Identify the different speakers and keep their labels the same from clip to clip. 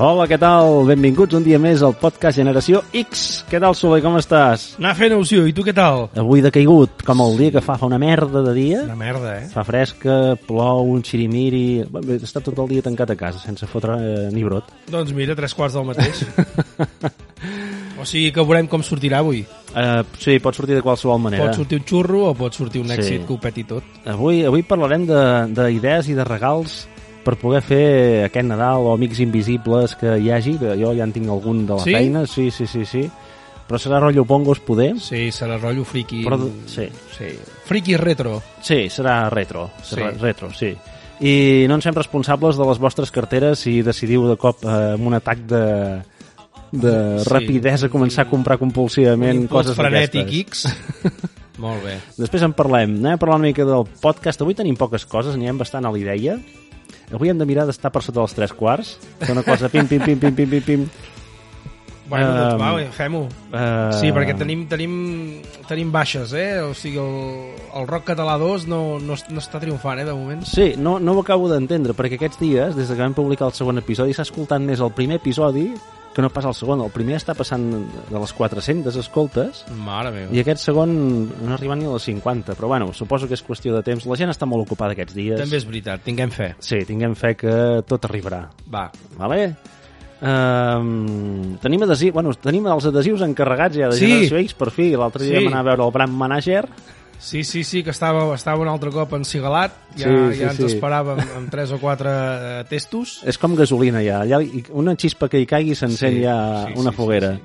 Speaker 1: Hola, què tal? Benvinguts un dia més al podcast Generació X. Què tal, Soler, com estàs?
Speaker 2: Anar fent il·lusió, i tu què tal?
Speaker 1: Avui de caigut, com el dia que fa, fa una merda de dia.
Speaker 2: Una merda, eh?
Speaker 1: Fa fresca, plou, un xirimiri... Bé, bé, Està tot el dia tancat a casa, sense fotre eh, ni brot.
Speaker 2: Doncs mira, tres quarts del mateix. o sigui que veurem com sortirà avui.
Speaker 1: Eh, sí, pot sortir de qualsevol manera.
Speaker 2: Pot sortir un xurro o pot sortir un
Speaker 1: Sí.
Speaker 2: èxit que ho peti tot.
Speaker 1: Avui, avui parlarem de- d'idees i de regals per poder fer aquest Nadal o amics invisibles que hi hagi, que jo ja en tinc algun de la
Speaker 2: Sí?
Speaker 1: feina, sí, sí, sí, sí. Però serà rotllo pongos poder,
Speaker 2: Sí, serà rotllo friki.
Speaker 1: però sí,
Speaker 2: Sí. Friki retro.
Speaker 1: sí, serà retro, serà
Speaker 2: Sí.
Speaker 1: retro, sí. I no ens fem responsables de les vostres carteres si decidiu de cop eh, amb un atac de, de
Speaker 2: Sí.
Speaker 1: rapidesa començar a comprar compulsivament
Speaker 2: Impuls
Speaker 1: coses d'aquestes.
Speaker 2: frenètic X. Molt bé.
Speaker 1: Després en parlem, anem a parlar una mica del podcast. Avui tenim poques coses, anirem bastant a l'idea. Avui hem de mirar d'estar per sota dels tres quarts. Fer una cosa pim, pim, pim, pim, pim, pim, pim.
Speaker 2: Bueno,
Speaker 1: Em,
Speaker 2: doncs va, bé, fem-ho.
Speaker 1: Eh,
Speaker 2: Sí, perquè tenim, tenim, tenim baixes, eh? O sigui, el, el rock català 2 no, no, es- no està triomfant, eh, de moment.
Speaker 1: Sí, no, no ho acabo d'entendre, perquè aquests dies, des que vam publicar el segon episodi, s'ha escoltat més el primer episodi que no pas el segon. El primer està passant de les 400 escoltes
Speaker 2: Mare meva.
Speaker 1: i aquest segon no arriba ni a les 50, però bueno, suposo que és qüestió de temps. La gent està molt ocupada aquests dies.
Speaker 2: També és veritat, tinguem fe.
Speaker 1: Sí, tinguem fe que tot arribarà.
Speaker 2: Va,
Speaker 1: Vale? Um, tenim adhesius, bueno, tenim els adhesius encarregats ja de
Speaker 2: Sí.
Speaker 1: Generació X, per fi. L'altre dia
Speaker 2: Sí.
Speaker 1: vam anar a veure el Brand Manager.
Speaker 2: Sí, sí, sí, que estava, estava un altre cop encigalat,
Speaker 1: Sí,
Speaker 2: ja, sí,
Speaker 1: sí,
Speaker 2: sí, ja ens
Speaker 1: sí.
Speaker 2: esperàvem amb tres o quatre eh, testos.
Speaker 1: És com gasolina, ja. Allà hi- una xispa que hi caigui s'encén
Speaker 2: Sí,
Speaker 1: ja
Speaker 2: sí,
Speaker 1: una
Speaker 2: sí,
Speaker 1: foguera.
Speaker 2: sí,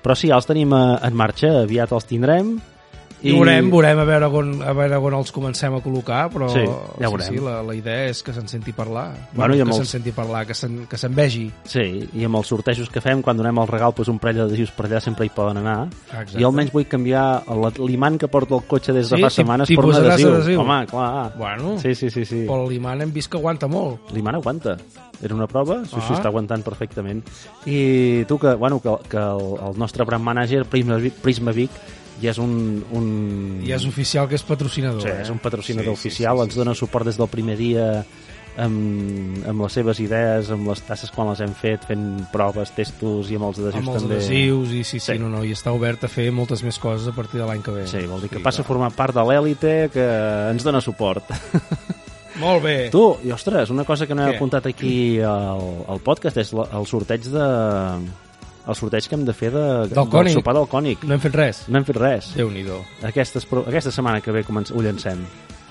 Speaker 1: Però sí, ja els tenim eh, en marxa, aviat els tindrem.
Speaker 2: I... Veurem, veurem a veure, on, a veure on els comencem a col·locar, però
Speaker 1: Sí, ja veurem.
Speaker 2: sí, la, la idea és que se'n senti parlar.
Speaker 1: Bueno, i amb
Speaker 2: que
Speaker 1: els-
Speaker 2: se'n senti parlar, que se'n que se'n vegi.
Speaker 1: Sí, i amb els sortejos que fem, quan donem el regal, doncs un parell d'adhesius per allà sempre hi poden anar.
Speaker 2: Exacte.
Speaker 1: Jo almenys vull canviar la- l'imant que porta el cotxe des de
Speaker 2: Sí,
Speaker 1: fa
Speaker 2: tip-
Speaker 1: setmanes per
Speaker 2: tipus
Speaker 1: un
Speaker 2: de
Speaker 1: adhesiu.
Speaker 2: adhesiu.
Speaker 1: Home, clar.
Speaker 2: Bueno, sí.
Speaker 1: Sí, sí, sí, sí.
Speaker 2: però l'imant hem vist que aguanta molt.
Speaker 1: L'imant aguanta. Era una prova, sí, sí,
Speaker 2: Ah.
Speaker 1: està aguantant perfectament. I tu, que, bueno, que, que el, el nostre brand manager, Prisma Vic, Prisma Vic ja és un... un...
Speaker 2: I és oficial que és patrocinador.
Speaker 1: Mm. sí,
Speaker 2: eh?
Speaker 1: és un patrocinador sí, oficial, sí, sí, ens dona suport des del primer dia amb, amb les seves idees, amb les tasses quan les hem fet, fent proves, testos i amb els adhesius
Speaker 2: amb els
Speaker 1: també.
Speaker 2: adhesius i sí, sí,
Speaker 1: Sí.
Speaker 2: sí, no, no, i està obert a fer moltes més coses a partir de l'any que ve.
Speaker 1: Sí, vol dir que
Speaker 2: Sí,
Speaker 1: passa a formar part de l'èlite que ens dona suport.
Speaker 2: Molt bé.
Speaker 1: Tu, i ostres, una cosa que no he
Speaker 2: Què?
Speaker 1: apuntat aquí al, al podcast és la, el sorteig de... el sorteig que hem de fer de, del,
Speaker 2: Cònic.
Speaker 1: sopar del cònic.
Speaker 2: No hem fet res.
Speaker 1: No hem fet res.
Speaker 2: Déu-n'hi-do.
Speaker 1: Aquestes, pro- aquesta setmana que ve comença, ho llancem.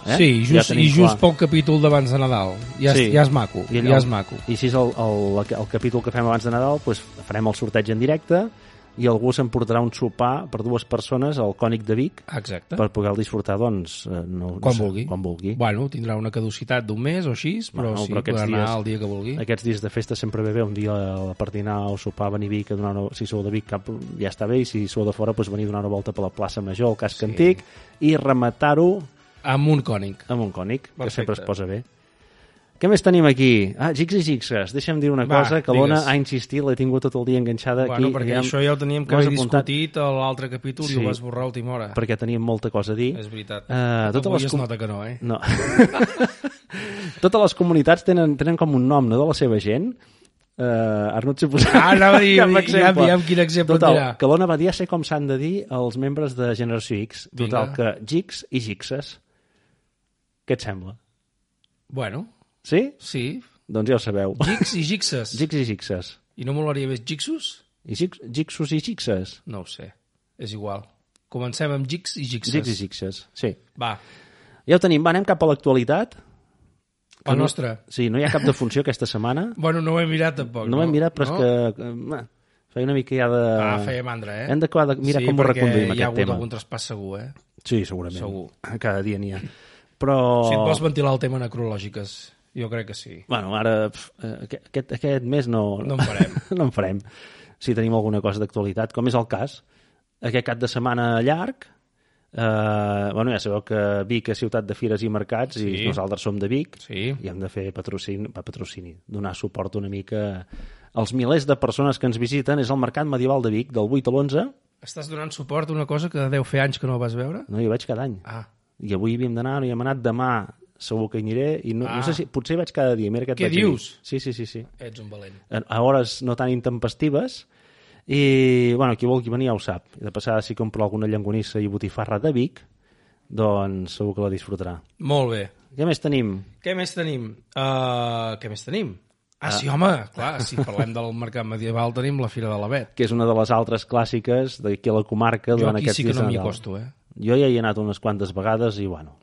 Speaker 1: Eh?
Speaker 2: Sí, just,
Speaker 1: tenim
Speaker 2: i just
Speaker 1: clar.
Speaker 2: pel capítol d'abans de Nadal. Ja,
Speaker 1: Sí.
Speaker 2: sí. ja és maco,
Speaker 1: I allò-
Speaker 2: ja és maco.
Speaker 1: I si és el, el, el capítol que fem abans de Nadal, doncs farem el sorteig en directe i algú s'emportarà un sopar per dues persones al Cònic de Vic
Speaker 2: Exacte.
Speaker 1: per poder-lo disfrutar, doncs, eh, no, no
Speaker 2: Ah. Quan
Speaker 1: sé,
Speaker 2: vulgui.
Speaker 1: Quan vulgui.
Speaker 2: Bueno, tindrà una caducitat d'un mes o així, però
Speaker 1: Bueno,
Speaker 2: sí,
Speaker 1: però aquests
Speaker 2: podrà anar
Speaker 1: dies-
Speaker 2: el dia que vulgui.
Speaker 1: Aquests dies de festa sempre ve bé, un dia a per dinar o sopar, venir a Vic, a donar una... si sou de Vic cap, ja està bé, i si sou de fora doncs venir a donar una volta per la plaça Major, al casc sí. antic, i rematar-ho
Speaker 2: Amb un cònic.
Speaker 1: amb un cònic, que
Speaker 2: Perfecte.
Speaker 1: sempre es posa bé. Què més tenim aquí? Ah, gigs i gixes. Deixa'm dir una
Speaker 2: Va,
Speaker 1: cosa, que
Speaker 2: digues.
Speaker 1: l'Ona ha insistit, l'he tingut tot el dia enganxada
Speaker 2: Bueno,
Speaker 1: aquí.
Speaker 2: perquè
Speaker 1: i
Speaker 2: això ja ho teníem que
Speaker 1: ho has
Speaker 2: haver
Speaker 1: apuntat.
Speaker 2: discutit a l'altre capítol
Speaker 1: Sí.
Speaker 2: i ho vas borrar a última hora.
Speaker 1: perquè teníem molta cosa a dir.
Speaker 2: És veritat.
Speaker 1: Eh, totes
Speaker 2: Avui
Speaker 1: les
Speaker 2: es
Speaker 1: com-
Speaker 2: nota que no, eh?
Speaker 1: No. Totes les comunitats tenen, tenen com un nom, no?, de la seva gent. Uh, ara no et sé posar
Speaker 2: Ah, anava a dir,
Speaker 1: cap
Speaker 2: ja
Speaker 1: exemple.
Speaker 2: aviam quin exemple et
Speaker 1: Total,
Speaker 2: dirà.
Speaker 1: que l'Ona va dir, ja sé com s'han de dir els membres de Generació X. Total,
Speaker 2: Vinga.
Speaker 1: que gigs i gixes. Què et sembla?
Speaker 2: Bueno,
Speaker 1: Sí?
Speaker 2: sí.
Speaker 1: Doncs ja ho sabeu.
Speaker 2: Gigs i gixes.
Speaker 1: Gigs i gixes.
Speaker 2: I no molaria més gixos?
Speaker 1: I gigs, gixos i gixes.
Speaker 2: No ho sé. És igual. Comencem amb gigs i gixes.
Speaker 1: Gigs i gixes, sí.
Speaker 2: Va,
Speaker 1: Ja ho tenim. Va, anem cap a l'actualitat.
Speaker 2: la nostra.
Speaker 1: Sí, no hi ha cap de funció aquesta setmana.
Speaker 2: Bueno, no ho he mirat tampoc.
Speaker 1: No, no hem mirat, però no? és que... eh, eh, Feia una mica ja de...
Speaker 2: Ah, feia mandra, eh?
Speaker 1: Hem de quadra- mirar com ho reconduïm,
Speaker 2: hi
Speaker 1: aquest
Speaker 2: ha hagut
Speaker 1: tema. Oh.
Speaker 2: algun traspàs segur, eh?
Speaker 1: Sí, segurament.
Speaker 2: Segur.
Speaker 1: Cada dia n'hi ha. Però...
Speaker 2: Si et vols ventilar el tema necrològiques, jo crec que sí.
Speaker 1: Bueno, ara pf, eh, aquest, aquest- aquest mes no...
Speaker 2: No en farem.
Speaker 1: no en farem. Si tenim alguna cosa d'actualitat, com és el cas. Aquest cap de setmana llarg, eh, bueno, ja sabeu que Vic és ciutat de fires i mercats sí. i
Speaker 2: Sí.
Speaker 1: nosaltres som de Vic
Speaker 2: Sí.
Speaker 1: i hem de fer patrocini, va, patrocini, donar suport una mica als milers de persones que ens visiten. És el Mercat Medieval de Vic, del 8 a l'11.
Speaker 2: Estàs donant suport a una cosa que deu fer anys que no vas veure?
Speaker 1: No, jo vaig cada any.
Speaker 2: Ah,
Speaker 1: I avui havíem d'anar, no hi hem anat demà segur que hi aniré i no, ah.
Speaker 2: Ah.
Speaker 1: no sé si, potser hi vaig cada dia mira,
Speaker 2: Què dius?
Speaker 1: Sí, sí, sí, sí
Speaker 2: Ets un valent.
Speaker 1: en- a hores no tan intempestives i, bueno, qui vulgui venir ja ho sap. I de passada, si compra alguna llangonissa i botifarra de Vic, doncs segur que la disfrutarà.
Speaker 2: Molt bé.
Speaker 1: Què més tenim?
Speaker 2: Què més tenim? Uh, què més tenim? Ah, sí, home, clar, si parlem del mercat medieval tenim la Fira de l'Avet.
Speaker 1: Que és una de les altres clàssiques d'aquí a la comarca
Speaker 2: Jo
Speaker 1: durant
Speaker 2: aquí
Speaker 1: aquests
Speaker 2: sí que
Speaker 1: dies
Speaker 2: no
Speaker 1: de
Speaker 2: m'hi
Speaker 1: Nadal.
Speaker 2: acosto, eh?
Speaker 1: Jo ja hi he anat unes quantes vegades i, bueno,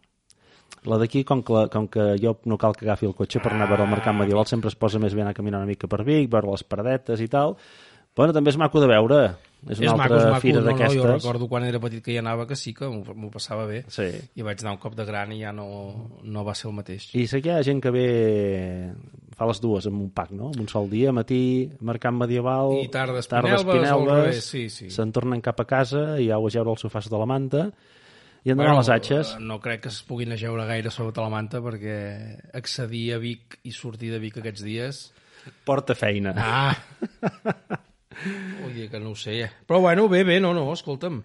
Speaker 1: la d'aquí, com, que la- com que jo no cal que agafi el cotxe per anar a veure el mercat medieval, sempre es posa més bé anar a caminar una mica per Vic, veure les paradetes i tal. Bueno, també és maco de veure. És una
Speaker 2: és
Speaker 1: altra
Speaker 2: maco, és maco,
Speaker 1: fira
Speaker 2: no, no, jo
Speaker 1: d'aquestes.
Speaker 2: recordo quan era petit que hi anava que sí que m'ho m'ho passava bé.
Speaker 1: sí.
Speaker 2: I vaig anar un cop de gran i ja no, no va ser el mateix.
Speaker 1: I sé que hi ha gent que ve fa les dues en un pack, no? En un sol dia, matí, mercat medieval...
Speaker 2: I tardes
Speaker 1: tardes
Speaker 2: Pinelves, o al
Speaker 1: Pinelves,
Speaker 2: revés, sí, sí.
Speaker 1: Se'n tornen cap a casa i au a jeure al sofà sota la manta i han d'anar a les atxes.
Speaker 2: eh, No crec que es puguin ajeure gaire sobre la manta perquè accedir a Vic i sortir de Vic aquests dies...
Speaker 1: Porta feina.
Speaker 2: Ah! Vull dir que no ho sé. eh. Però bueno, bé, bé, no, no, escolta'm.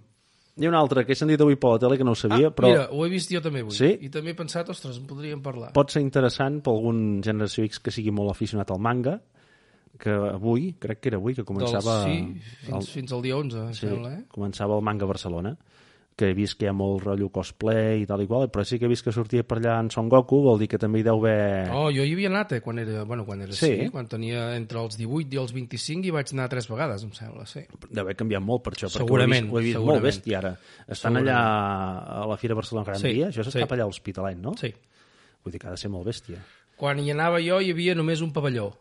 Speaker 1: Hi ha una altra que he sentit avui per la tele que no ho sabia, però
Speaker 2: Ah, Mira, ho he vist jo també avui.
Speaker 1: Sí?
Speaker 2: I també he pensat, ostres, en podríem parlar.
Speaker 1: pot ser interessant per algun generació X que sigui molt aficionat al manga, que avui, crec que era avui, que
Speaker 2: Del-
Speaker 1: començava...
Speaker 2: Sí, fins, el... fins al dia 11, em
Speaker 1: Sí,
Speaker 2: sembla, eh?
Speaker 1: començava el manga a Barcelona, que he vist que hi ha molt rotllo cosplay i tal i qual, però sí que he vist que sortia per allà en Son Goku, vol dir que també hi deu haver...
Speaker 2: Oh, jo hi havia anat, eh, quan era, bueno, quan era
Speaker 1: Sí.
Speaker 2: sí. sí, quan tenia entre els 18 i els 25 i vaig anar tres vegades, em sembla, sí.
Speaker 1: Deu haver canviat molt per això, perquè
Speaker 2: Segurament,
Speaker 1: ho he vist, ho he vist
Speaker 2: segurament.
Speaker 1: molt bèstia ara. Estan allà a la Fira Barcelona Gran
Speaker 2: Sí,
Speaker 1: Via, això s'escapa
Speaker 2: sí.
Speaker 1: allà a l'Hospitalet, no?
Speaker 2: Sí.
Speaker 1: Vull dir que ha de ser molt bèstia.
Speaker 2: Quan hi anava jo hi havia només un pavelló.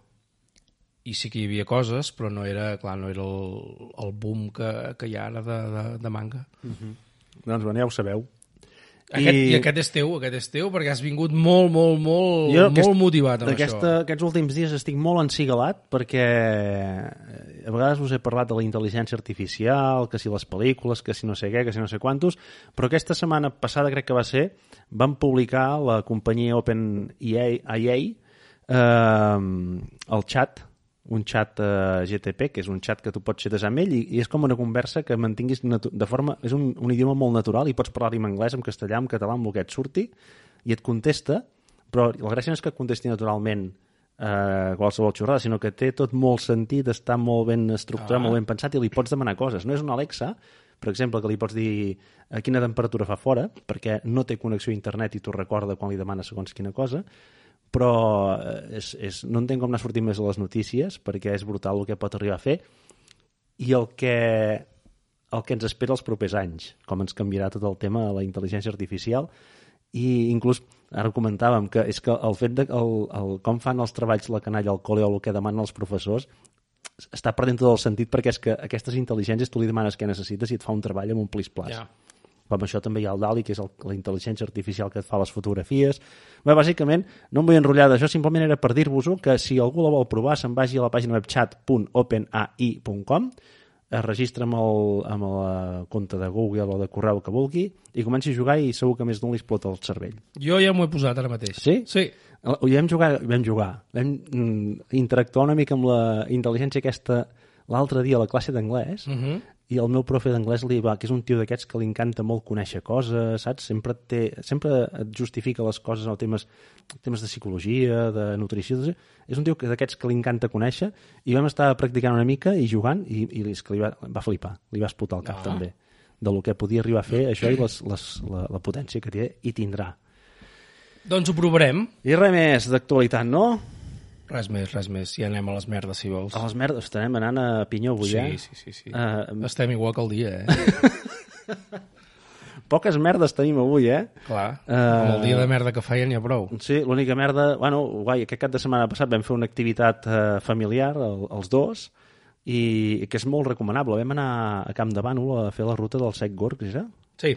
Speaker 2: I sí que hi havia coses, però no era, clar, no era el, el boom que, que hi ha ara de, de, de manga.
Speaker 1: Doncs bueno, ja ho sabeu.
Speaker 2: Aquest, I... I aquest és teu, aquest és teu, perquè has vingut molt, molt, molt,
Speaker 1: Jo
Speaker 2: jo, molt
Speaker 1: aquest-
Speaker 2: motivat amb
Speaker 1: D'aquesta-
Speaker 2: això.
Speaker 1: Aquests últims dies estic molt encigalat perquè eh, a vegades us he parlat de la intel·ligència artificial, que si les pel·lícules, que si no sé què, que si no sé quantos, però aquesta setmana passada crec que va ser, van publicar la companyia OpenIA IA, eh, el xat, un xat eh, GTP, que és un xat que tu pots xatejar amb ell i, i és com una conversa que mantinguis natu- de forma... És un, un idioma molt natural i pots parlar-hi en anglès, en castellà, en català, amb el que et surti i et contesta però la gràcia no és que contesti naturalment eh, qualsevol xorrada, sinó que té tot molt sentit, està molt ben estructurat, ah. molt ben pensat i li pots demanar coses. No és una Alexa, per exemple, que li pots dir a quina temperatura fa fora, perquè no té connexió a internet i t'ho recorda quan li demanes segons quina cosa, però eh, és, és, no entenc com n'ha sortit més a les notícies, perquè és brutal el que pot arribar a fer i el que, el que ens espera els propers anys, com ens canviarà tot el tema de la intel·ligència artificial i inclús ara ho comentàvem que és que el fet de el, el, com fan els treballs la canalla al col·le o el que demanen els professors està perdent tot el sentit perquè és que aquestes intel·ligències tu li demanes què necessites i et fa un treball amb un plis-plas.
Speaker 2: Ja.
Speaker 1: Com això també hi ha el DALI, que és el, la intel·ligència artificial que et fa les fotografies. Bé, bàsicament, no em vull enrotllar d'això, simplement era per dir-vos-ho que si algú la vol provar, se'n vagi a la pàgina web chat.openai.com, es registra amb, el, amb la compte de Google o de correu que vulgui i comenci a jugar i segur que a més d'un li explota el cervell.
Speaker 2: Jo ja m'ho he posat ara mateix.
Speaker 1: Sí?
Speaker 2: Sí.
Speaker 1: Ho vam jugar, vam jugar, vam mm, interactuar una mica amb la intel·ligència aquesta l'altre dia a la classe d'anglès
Speaker 2: Uh -huh.
Speaker 1: i el meu profe d'anglès li va, que és un tio d'aquests que li encanta molt conèixer coses, saps? Sempre, té, sempre et justifica les coses en temes, temes de psicologia, de nutrició, de... és un tio que d'aquests que li encanta conèixer i vam estar practicant una mica i jugant i, i és que li va, va flipar, li va explotar el cap no. també de lo que podia arribar a fer això i les, les, la, la potència que té i tindrà.
Speaker 2: Doncs ho provarem.
Speaker 1: I res més d'actualitat, no?
Speaker 2: Res més, res més. Ja anem a les merdes, si vols.
Speaker 1: A les Oh, merdes, estarem anant a Pinyó avui,
Speaker 2: sí,
Speaker 1: eh?
Speaker 2: sí, sí, sí.
Speaker 1: Eh,
Speaker 2: Estem igual que el dia, eh?
Speaker 1: poques merdes tenim avui, eh?
Speaker 2: Clar,
Speaker 1: Eh,
Speaker 2: amb el dia de merda que feien ja prou.
Speaker 1: Sí, l'única merda... Bueno, guai, aquest cap de setmana passat vam fer una activitat eh, familiar, el, els dos, i que és molt recomanable. Vam anar a Camp de Bànol a fer la ruta del Sec Gorgs, ja?
Speaker 2: Sí,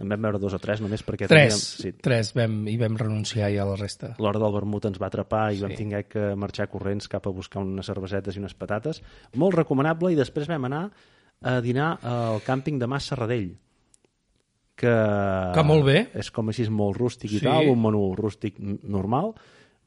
Speaker 1: En vam veure dos o tres, només perquè...
Speaker 2: tres,
Speaker 1: Teníem, sí,
Speaker 2: tres vam, i vam renunciar ja a la resta.
Speaker 1: l'hora del vermut ens va atrapar i sí. vam tingué que marxar corrents cap a buscar unes cervesetes i unes patates. Molt recomanable, i després vam anar a dinar al càmping de Mas Serradell, que...
Speaker 2: Que molt bé.
Speaker 1: És com així, és molt rústic i
Speaker 2: Sí.
Speaker 1: tal, un menú rústic n- normal,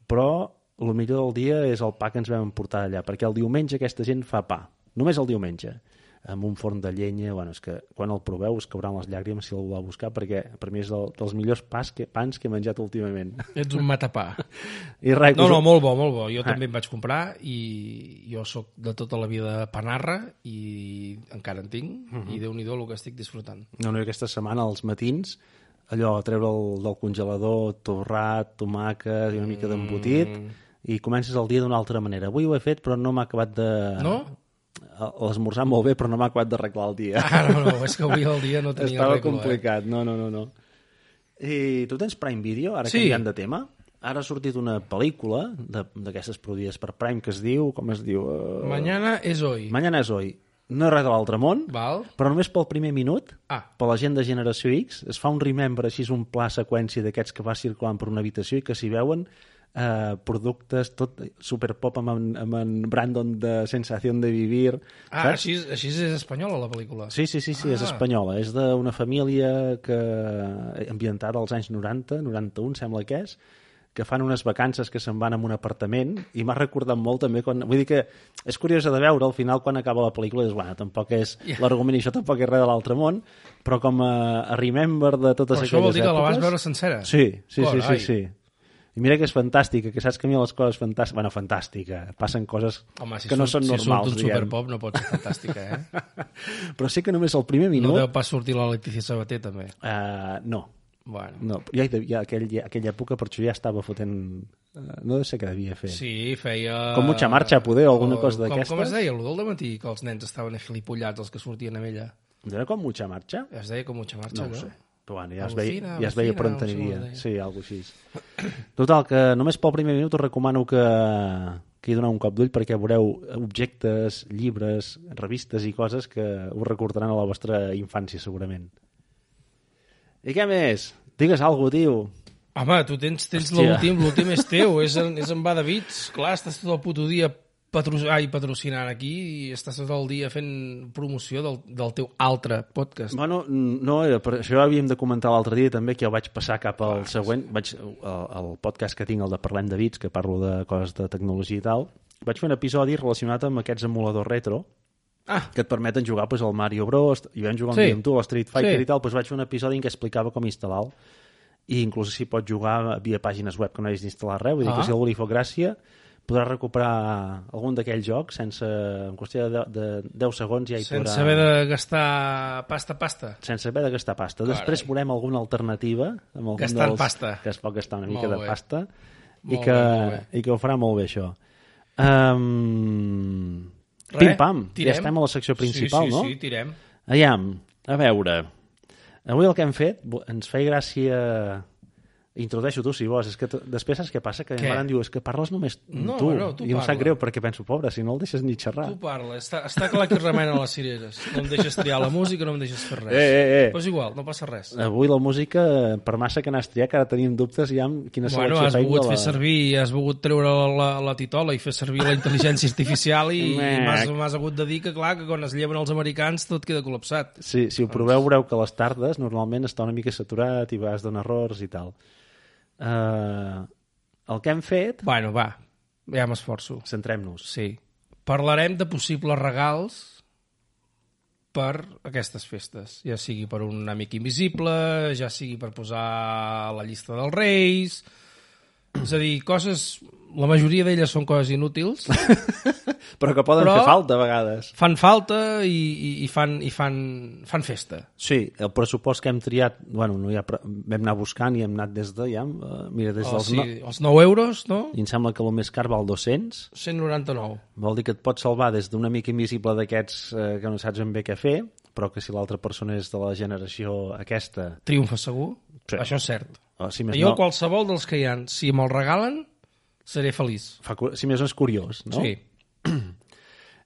Speaker 1: però el millor del dia és el pa que ens vam emportar allà, perquè el diumenge aquesta gent fa pa, només el diumenge. amb un forn de llenya, bueno, és que quan el proveu us cauran les llàgrimes si algú el vol buscar, perquè per mi és del, dels millors pas que, pans que he menjat últimament.
Speaker 2: Ets un matapà.
Speaker 1: I res,
Speaker 2: No,
Speaker 1: us-
Speaker 2: no, molt bo, molt bo. Jo
Speaker 1: Ah.
Speaker 2: també em vaig comprar i jo sóc de tota la vida panarra i encara en tinc
Speaker 1: Mhm.
Speaker 2: i déu-n'hi-do el que estic disfrutant.
Speaker 1: No, no, i aquesta setmana, als matins, allò, treure el, del congelador, torrat, tomàquet i una mica d'embotit,
Speaker 2: Mm.
Speaker 1: i comences el dia d'una altra manera. Avui ho he fet, però no m'ha acabat de...
Speaker 2: No?
Speaker 1: L'esmorzar molt bé, però no m'ha acabat d'arreglar el dia.
Speaker 2: Ah, no, no, és que avui el dia no tenia
Speaker 1: Estava
Speaker 2: regla, eh?
Speaker 1: complicat, no, no, no, no. I tu tens Prime Video, ara
Speaker 2: Sí.
Speaker 1: sí. canviant de tema? Ara ha sortit una pel·lícula de- d'aquestes produïdes per Prime que es diu... Com es diu? Uh...
Speaker 2: Mañana és hoy.
Speaker 1: Mañana és hoy. No és res de l'altre món,
Speaker 2: Val?
Speaker 1: però només pel primer minut,
Speaker 2: Ah.
Speaker 1: per la gent de Generació X, es fa un remember, així és un pla seqüència d'aquests que va circulant per una habitació i que s'hi veuen eh, productes tot superpop amb, en, amb en Brandon de Sensación de Vivir.
Speaker 2: Ah, així, és- així és espanyola la pel·lícula.
Speaker 1: Sí, sí, sí, sí és
Speaker 2: Ah.
Speaker 1: espanyola. És d'una família que ambientada als anys 90, 91, sembla que és, que fan unes vacances que se'n van a un apartament i m'ha recordat molt també quan... Vull dir que és curiosa de veure, al final quan acaba la pel·lícula és, bueno, tampoc és...
Speaker 2: Ja.
Speaker 1: L'argument i això tampoc és res de l'altre món, però com a, a remember de totes
Speaker 2: Però
Speaker 1: aquelles
Speaker 2: això vol dir que la vas
Speaker 1: èpoques-
Speaker 2: veure sencera?
Speaker 1: Sí, sí, sí, sí,
Speaker 2: Carai.
Speaker 1: sí. I mira que és fantàstica, que saps que a mi les coses fantàstiques... Bueno, fantàstica, passen coses
Speaker 2: Home, si
Speaker 1: que no
Speaker 2: surt,
Speaker 1: són
Speaker 2: si
Speaker 1: normals,
Speaker 2: surt un
Speaker 1: diguem.
Speaker 2: superpop no pot ser fantàstica, eh?
Speaker 1: Però sí que només el primer
Speaker 2: No,
Speaker 1: minut...
Speaker 2: deu pas sortir la Letícia Sabater, també.
Speaker 1: Eh, no,
Speaker 2: Bueno.
Speaker 1: no, ja, ja aquell, ja, aquella època per això ja estava fotent... eh, No sé què devia fer.
Speaker 2: Sí, feia...
Speaker 1: Com mucha marcha, poder, o alguna
Speaker 2: o-
Speaker 1: cosa
Speaker 2: com- Com
Speaker 1: d'aquestes.
Speaker 2: es deia, allò del matí que els nens estaven afilipollats, els que sortien amb ella?
Speaker 1: No era com mucha marxa?
Speaker 2: Es deia com mucha marcha,
Speaker 1: No ho sé. Però bueno, ja es
Speaker 2: Alucina,
Speaker 1: veia, ja es veia per on
Speaker 2: alucina, no sé
Speaker 1: aniria.
Speaker 2: com es
Speaker 1: Sí, alguna així. Total, que només pel primer minut us recomano que, que hi doneu un cop d'ull perquè veureu objectes, llibres, revistes i coses que us recordaran a la vostra infància, segurament. I què més? Digues alguna cosa, tio.
Speaker 2: Home, tu tens, tens
Speaker 1: Hòstia.
Speaker 2: l'últim, l'últim és teu, és en, és en Badavits, clar, estàs tot el puto dia patro... ai, patrocinant aquí i estàs tot el dia fent promoció del, del teu altre podcast.
Speaker 1: Bueno, no, era per això havíem de comentar l'altre dia també que el vaig passar cap
Speaker 2: Ah,
Speaker 1: al següent vaig, el, el podcast que tinc, el de Parlem de Bits que parlo de coses de tecnologia i tal vaig fer un episodi relacionat amb aquests emuladors retro
Speaker 2: Ah,
Speaker 1: que et permeten jugar pues, al Mario Bros i vam jugar un
Speaker 2: Sí.
Speaker 1: sí. dia amb tu, al Street Fighter
Speaker 2: Sí.
Speaker 1: sí. i tal doncs vaig fer un episodi en què explicava com instal·lar-lo i inclús si pots jugar via pàgines web que no hagis d'instal·lar res, vull dir
Speaker 2: Ah.
Speaker 1: que si algú li fa gràcia podrà recuperar algun d'aquells jocs sense, en qüestió de, de, de 10 segons ja hi podrà
Speaker 2: sense haver de gastar pasta, pasta.
Speaker 1: sense haver de gastar pasta. Carai. Després veurem alguna alternativa amb algun
Speaker 2: Gastant
Speaker 1: dels,
Speaker 2: pasta.
Speaker 1: que es pot gastar una
Speaker 2: Molt
Speaker 1: mica de
Speaker 2: bé.
Speaker 1: pasta i
Speaker 2: Molt
Speaker 1: que,
Speaker 2: bé, molt bé.
Speaker 1: i que ho farà molt bé això. Um,
Speaker 2: Re,
Speaker 1: Pim-pam, ja
Speaker 2: tirem.
Speaker 1: estem a la secció principal,
Speaker 2: sí, sí,
Speaker 1: no?
Speaker 2: Sí, tirem.
Speaker 1: Aviam, a veure. Avui el que hem fet, bo- ens feia gràcia... Introdueixo tu, si vols. És que t- després saps què passa? Que
Speaker 2: Què?
Speaker 1: em van dir, és que parles només
Speaker 2: No,
Speaker 1: tu.
Speaker 2: no, tu
Speaker 1: I em
Speaker 2: parla.
Speaker 1: sap greu, perquè penso, pobre, si no el deixes ni xerrar.
Speaker 2: Tu parla, està, està clar que remena les cireres. No em deixes triar la música, no em deixes fer res.
Speaker 1: Eh, eh, eh.
Speaker 2: Però és igual, no passa res.
Speaker 1: Avui la música, per massa que n'has triat, que ara tenim dubtes ja amb quina
Speaker 2: Bueno,
Speaker 1: selecció
Speaker 2: has
Speaker 1: feim de
Speaker 2: volgut
Speaker 1: la...
Speaker 2: fer servir, has volgut treure la, la titola i fer servir la intel·ligència artificial i, i
Speaker 1: Mec.
Speaker 2: m'has m'has hagut de dir que, clar, que quan es lleven els americans tot queda col·lapsat.
Speaker 1: Sí, si ho
Speaker 2: Doncs.
Speaker 1: proveu veureu que a les tardes normalment està una mica saturat i vas donant errors i tal. Uh, el que hem fet,
Speaker 2: Bueno, va, ja m'esforço.
Speaker 1: centrem-nos.
Speaker 2: Sí. Parlarem de possibles regals per aquestes festes, ja sigui per un amic invisible, ja sigui per posar la llista dels reis... És a dir, coses... La majoria d'elles són coses inútils,
Speaker 1: Però que poden Però...
Speaker 2: Però-
Speaker 1: fer falta a vegades.
Speaker 2: fan falta i, i, i, fan, i fan, fan festa.
Speaker 1: Sí, el pressupost que hem triat, bueno, no hi ha, pre- vam anar buscant i hem anat des de, ja, eh, mira, des
Speaker 2: O
Speaker 1: dels...
Speaker 2: sigui,
Speaker 1: No...
Speaker 2: els 9 euros, no?
Speaker 1: I em sembla que el més car val 200.
Speaker 2: 199.
Speaker 1: Vol dir que et pot salvar des d'un amic invisible d'aquests eh, que no saps ben bé què fer, però que si l'altra persona és de la generació aquesta,
Speaker 2: Triomfa segur?
Speaker 1: Sí.
Speaker 2: Això és cert.
Speaker 1: o si més,
Speaker 2: Jo,
Speaker 1: no,
Speaker 2: qualsevol dels que hi han, si me'l regalen, seré feliç.
Speaker 1: fa, cu- si més no és curiós, no?
Speaker 2: Sí.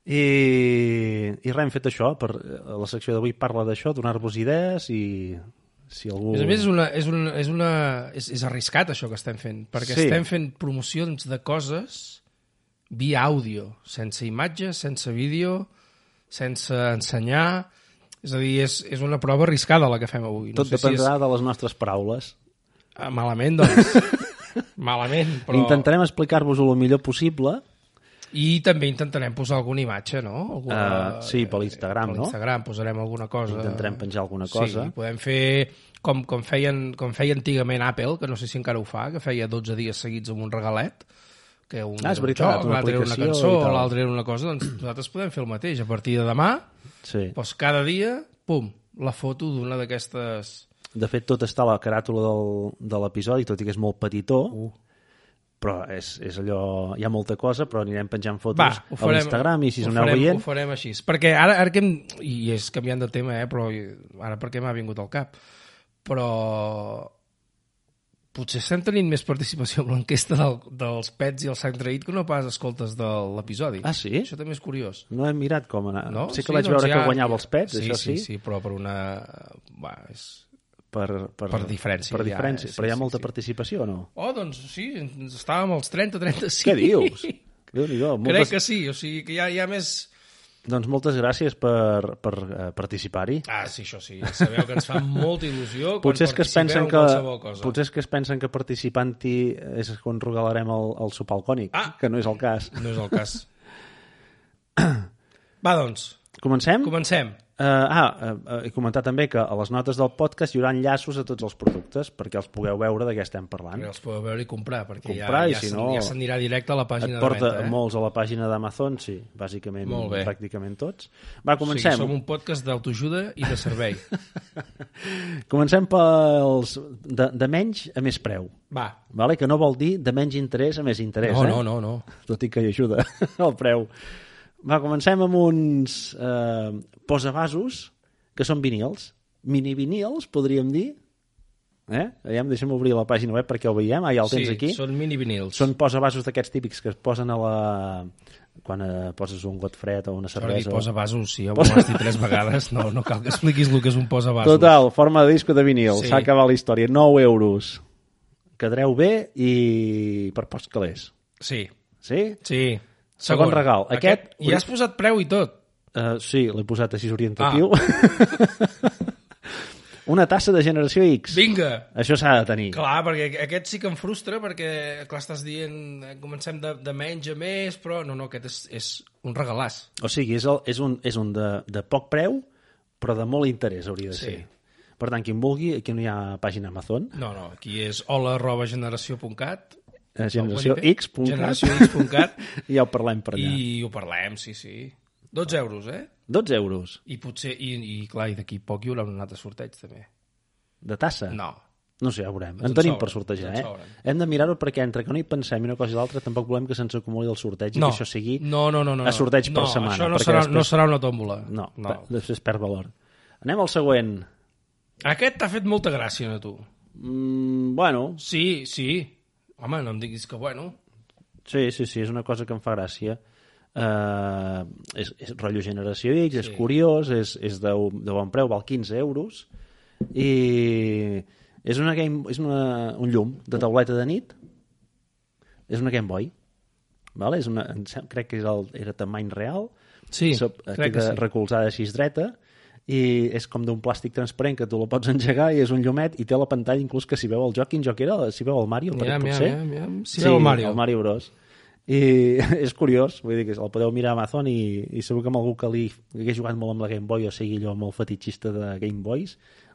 Speaker 1: I, i res, hem fet això. Per, la secció d'avui parla d'això, donar-vos idees i si
Speaker 2: A
Speaker 1: algú...
Speaker 2: més a més, és, una, és, una, és, una, és, és arriscat això que estem fent, perquè
Speaker 1: Sí.
Speaker 2: estem fent promocions de coses via àudio, sense imatge, sense vídeo, sense ensenyar... És a dir, és, és una prova arriscada la que fem avui.
Speaker 1: Tot
Speaker 2: no sé
Speaker 1: dependrà de les nostres paraules.
Speaker 2: Si és... Ah, Malament, doncs. Malament, però...
Speaker 1: Intentarem explicar-vos-ho el millor possible
Speaker 2: I també intentarem posar alguna imatge, no? Alguna,
Speaker 1: Eh, sí, per l'Instagram,
Speaker 2: Ah, per
Speaker 1: no?
Speaker 2: l'Instagram posarem alguna cosa.
Speaker 1: Intentarem penjar alguna cosa.
Speaker 2: Sí, podem fer com, com, feien, com feia antigament Apple, que no sé si encara ho fa, que feia 12 dies seguits amb un regalet, que un
Speaker 1: Ah, és
Speaker 2: era un
Speaker 1: veritat,
Speaker 2: joc,
Speaker 1: una
Speaker 2: l'altre era una
Speaker 1: aplicació
Speaker 2: cançó,
Speaker 1: i tal.
Speaker 2: l'altre era una cosa, doncs nosaltres podem fer el mateix. A partir de demà,
Speaker 1: Sí.
Speaker 2: doncs cada dia, pum, la foto d'una d'aquestes...
Speaker 1: De fet, tot està a la caràtula del, de l'episodi, tot i que és molt petitó,
Speaker 2: Uh.
Speaker 1: però és, és allò... Hi ha molta cosa, però anirem penjant fotos
Speaker 2: Va, ho
Speaker 1: a
Speaker 2: farem,
Speaker 1: l'Instagram i si us
Speaker 2: ho
Speaker 1: aneu
Speaker 2: farem,
Speaker 1: veient...
Speaker 2: Ho farem així. Perquè ara, ara que hem, I és canviant de tema, eh, però ara perquè m'ha vingut al cap. Però potser estem tenint més participació amb l'enquesta del, dels pets i el sang traït que no pas escoltes de l'episodi.
Speaker 1: Ah, sí?
Speaker 2: Això també és curiós.
Speaker 1: No he mirat com anar.
Speaker 2: No? doncs
Speaker 1: sé que vaig veure que guanyava els pets,
Speaker 2: sí,
Speaker 1: això sí,
Speaker 2: Sí, sí, però per una... Va, és...
Speaker 1: Per, per,
Speaker 2: Per diferència,
Speaker 1: Per
Speaker 2: ja,
Speaker 1: diferència.
Speaker 2: sí,
Speaker 1: però hi ha
Speaker 2: sí,
Speaker 1: molta
Speaker 2: sí.
Speaker 1: participació o no?
Speaker 2: Oh, doncs sí, ens estàvem als 30-35.
Speaker 1: Què dius? Déu-n'hi-do.
Speaker 2: Crec
Speaker 1: Moltes,
Speaker 2: que sí, o sigui que hi ha, hi ha més...
Speaker 1: Doncs moltes gràcies per, per eh, participar-hi.
Speaker 2: Ah, sí, això sí. Ja sabeu que ens fa molta il·lusió quan
Speaker 1: Potser és que es
Speaker 2: participeu
Speaker 1: pensen
Speaker 2: en
Speaker 1: que,
Speaker 2: qualsevol cosa.
Speaker 1: potser és que es pensen que participant-hi és quan regalarem el, el sopar alcònic,
Speaker 2: Ah!
Speaker 1: que no és el cas.
Speaker 2: No és el cas. Va, doncs,
Speaker 1: Comencem?
Speaker 2: comencem.
Speaker 1: Eh, ah, eh, eh, he comentat també que a les notes del podcast hi haurà enllaços a tots els productes perquè els pugueu veure de què estem parlant.
Speaker 2: Els podeu veure i comprar, perquè
Speaker 1: Comprar
Speaker 2: ja,
Speaker 1: i
Speaker 2: ja
Speaker 1: si
Speaker 2: s'an-
Speaker 1: no-
Speaker 2: ja s'anirà directe a la pàgina
Speaker 1: Et porta
Speaker 2: de venda. Eh?
Speaker 1: molts a la pàgina d'Amazon, sí, bàsicament,
Speaker 2: Molt bé.
Speaker 1: pràcticament tots. Va,
Speaker 2: O sigui,
Speaker 1: comencem.
Speaker 2: som un podcast d'autoajuda i de servei.
Speaker 1: Comencem pels de, de menys a més preu,
Speaker 2: Va.
Speaker 1: vale? que no vol dir de menys interès a més interès,
Speaker 2: No,
Speaker 1: eh?
Speaker 2: no, no, no.
Speaker 1: tot i que hi ajuda el preu. Va, comencem amb uns eh, posavasos, que són vinils, mini-vinils, podríem dir. Eh? Aviam, deixa'm obrir la pàgina web perquè ho veiem. Ah, ja el tens
Speaker 2: sí,
Speaker 1: aquí.
Speaker 2: són mini vinils.
Speaker 1: Són posavasos d'aquests típics que es posen a la... quan eh, poses un got fred o una
Speaker 2: Jordi,
Speaker 1: cervesa.
Speaker 2: posa vasos, sí, ja ho has dit tres vegades. No, no cal que expliquis el que és un posa vasos.
Speaker 1: Total, forma de disco de vinil.
Speaker 2: Sí.
Speaker 1: S'ha acabat la història. 9 euros. Quedareu bé i per pocs calés.
Speaker 2: Sí,
Speaker 1: Sí?
Speaker 2: sí.
Speaker 1: Segon regal. Aquest-
Speaker 2: Aquest... Ja has posat preu i tot.
Speaker 1: Uh, sí, l'he posat així orientatiu. Ah. Una tassa de generació X.
Speaker 2: Vinga,
Speaker 1: Això s'ha de tenir.
Speaker 2: Clar, perquè aquest sí que em frustra, perquè, clar, estàs dient, eh, comencem de, de menys a més, però no, no, aquest és, és un regalàs.
Speaker 1: O sigui, és, el, és un, és un de, de poc preu, però de molt interès hauria de
Speaker 2: Sí.
Speaker 1: ser. Per tant, qui en vulgui, aquí no hi ha pàgina Amazon,
Speaker 2: No, no, aquí és hola arroba generació.cat,
Speaker 1: eh, generacióx.cat,
Speaker 2: generacióx.cat,
Speaker 1: ja ho parlem per allà. I...
Speaker 2: i ho parlem, sí, sí. 12 euros, eh?
Speaker 1: 12 euros
Speaker 2: I potser, i, i clar, i d'aquí poc hi haurà un altre sorteig, també.
Speaker 1: de tassa.
Speaker 2: No.
Speaker 1: No sé, ja ho veurem.
Speaker 2: Ens
Speaker 1: En
Speaker 2: en
Speaker 1: tenim
Speaker 2: sobren,
Speaker 1: per
Speaker 2: ens
Speaker 1: sortejar,
Speaker 2: en
Speaker 1: eh?
Speaker 2: sobren.
Speaker 1: Hem de mirar-ho perquè entre que no hi pensem i una cosa i l'altra tampoc volem que se'ns acumuli el sorteig i
Speaker 2: No.
Speaker 1: que això sigui
Speaker 2: no, no, no, no, no.
Speaker 1: a sorteig per
Speaker 2: no,
Speaker 1: setmana,
Speaker 2: Això no
Speaker 1: perquè
Speaker 2: serà,
Speaker 1: després-
Speaker 2: no serà una tòmbola.
Speaker 1: No,
Speaker 2: no.
Speaker 1: no. després perd valor. Anem al següent.
Speaker 2: Aquest t'ha fet molta gràcia a tu.
Speaker 1: Mm, bueno,
Speaker 2: Sí, sí. Home, no em diguis que bueno.
Speaker 1: sí, sí, sí, és una cosa que em fa gràcia. Uh, és, és rotllo generació X, sí. és curiós, és, és de, de bon preu, val 15 euros, i és, una game, és una, un llum de tauleta de nit, és una Game Boy, vale? és una, em sem- crec que és el, era tamany real,
Speaker 2: Sí,
Speaker 1: Sop-
Speaker 2: crec que
Speaker 1: queda
Speaker 2: sí.
Speaker 1: recolzada així dreta i és com d'un plàstic transparent que tu la pots engegar i és un llumet i té la pantalla inclús que si veu el joc, quin joc era? Si veu el Mario,
Speaker 2: Miam,
Speaker 1: yeah,
Speaker 2: miam,
Speaker 1: potser?
Speaker 2: miam, miam. Si veu el Mario.
Speaker 1: El Mario Bros. I és curiós, vull dir que el podeu mirar a Amazon i, i segur que amb algú que li que hagués jugat molt amb la Game Boy o sigui allò molt fetichista de Game Boys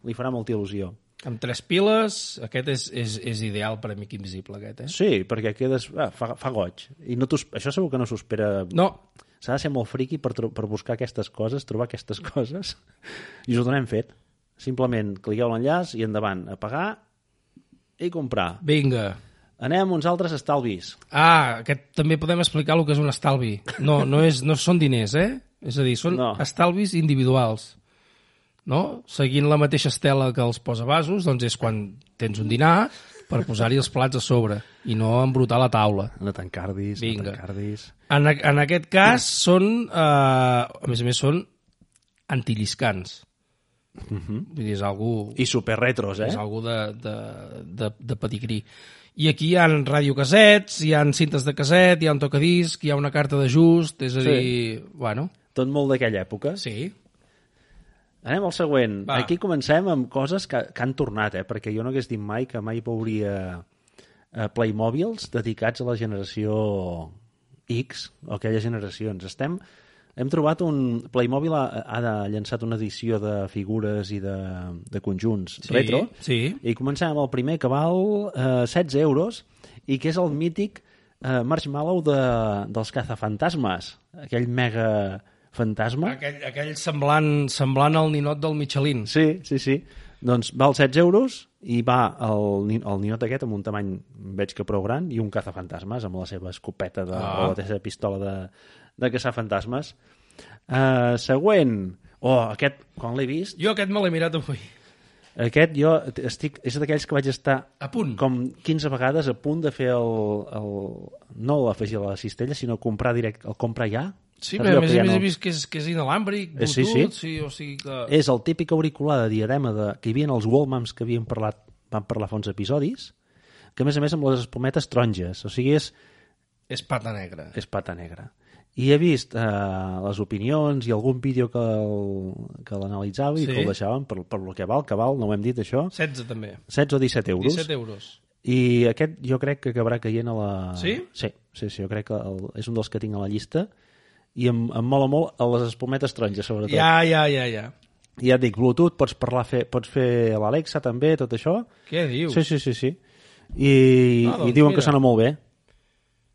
Speaker 1: li farà molta il·lusió.
Speaker 2: Amb tres piles, aquest és, és, és ideal per a Amic Invisible, aquest, eh?
Speaker 1: Sí, perquè quedes... Ah, fa, fa goig. I no t'ho- això segur que no s'ho espera
Speaker 2: No,
Speaker 1: S'ha de ser molt friqui per, tro- per buscar aquestes coses, trobar aquestes coses, i us ho donem fet. Simplement cliqueu l'enllaç i endavant, a pagar i comprar.
Speaker 2: vinga.
Speaker 1: Anem a uns altres estalvis.
Speaker 2: Ah, aquest també podem explicar el que és un estalvi. No, no, és, no són diners, eh? És a dir, són no.
Speaker 1: No.
Speaker 2: estalvis individuals. No? Seguint la mateixa estela que els posavasos, doncs és quan tens un dinar per posar-hi els plats a sobre i no embrutar la taula.
Speaker 1: No t'encardis,
Speaker 2: Vinga.
Speaker 1: no t'encardis.
Speaker 2: En, a- en aquest cas són, eh, a més a més, són antilliscants. Uh -huh. Vull dir, és algú
Speaker 1: I superretros, eh?
Speaker 2: és algú de, de, de, de pedigrí. I aquí hi ha radiocasets, hi ha cintes de caset, hi ha un tocadisc, hi ha una carta d'ajust, és a
Speaker 1: Sí.
Speaker 2: dir... Bueno,
Speaker 1: Tot molt d'aquella època.
Speaker 2: sí.
Speaker 1: Anem al següent.
Speaker 2: Va.
Speaker 1: Aquí comencem amb coses que, que han tornat, eh? Perquè jo no hagués dit mai que mai veuria eh, Playmobils dedicats a la generació X o aquelles generacions. Estem... Hem trobat un... Playmobil ha, ha llançat una edició de figures i de, de conjunts
Speaker 2: Sí,
Speaker 1: retro.
Speaker 2: sí.
Speaker 1: I començàvem amb el primer que val eh, 16 euros i que és el mític eh, Marshmallow de, dels cazafantasmes. Aquell mega fantasma.
Speaker 2: Aquell, aquell semblant, semblant al ninot del Michelin.
Speaker 1: Sí, sí, sí. Doncs val 16 euros i va el, ni- el ninot aquest amb un tamany, veig que prou gran, i un cazafantasmes amb la seva escopeta de,
Speaker 2: Ah.
Speaker 1: ah. o la seva pistola de, de caçar fantasmes. Uh, següent. Oh, aquest, quan l'he vist,
Speaker 2: Jo aquest me l'he mirat avui.
Speaker 1: aquest jo estic, és d'aquells que vaig estar
Speaker 2: A punt.
Speaker 1: com 15 vegades a punt de fer el... el no l'afegir a la cistella, sinó comprar directe, el comprar ja.
Speaker 2: Sí,
Speaker 1: Saps
Speaker 2: però
Speaker 1: allò
Speaker 2: a més
Speaker 1: que
Speaker 2: a
Speaker 1: ja
Speaker 2: més
Speaker 1: no-
Speaker 2: he vist que és, que és inalàmbric,
Speaker 1: Eh,
Speaker 2: Bluetooth,
Speaker 1: sí, Eh.
Speaker 2: sí, sí.
Speaker 1: sí.
Speaker 2: o sigui que...
Speaker 1: és el típic auricular de diadema de, que hi havia en els Wallmans que havien parlat, van parlar fa uns episodis, que a més a més amb les espumetes taronges, o sigui, és,
Speaker 2: És pata negra.
Speaker 1: és pata negra. I he vist eh, les opinions i algun vídeo que, el, que l'analitzava i
Speaker 2: Sí.
Speaker 1: que el deixaven per, per lo que val, que val, no ho hem dit això,
Speaker 2: 16 també.
Speaker 1: 16 o 17 euros.
Speaker 2: 17 euros.
Speaker 1: I aquest jo crec que acabarà caient a la...
Speaker 2: Sí?
Speaker 1: Sí, sí, sí jo crec que el, és un dels que tinc a la llista i em, em mola molt a les espumetes taronges, sobretot.
Speaker 2: Ja, ja, ja, ja.
Speaker 1: I ja et dic, Bluetooth, pots parlar, fer, pots fer l'Alexa també, tot això.
Speaker 2: Què dius?
Speaker 1: Sí, sí, sí, sí. I,
Speaker 2: Ah, doncs
Speaker 1: i diuen
Speaker 2: mira.
Speaker 1: que sona molt bé.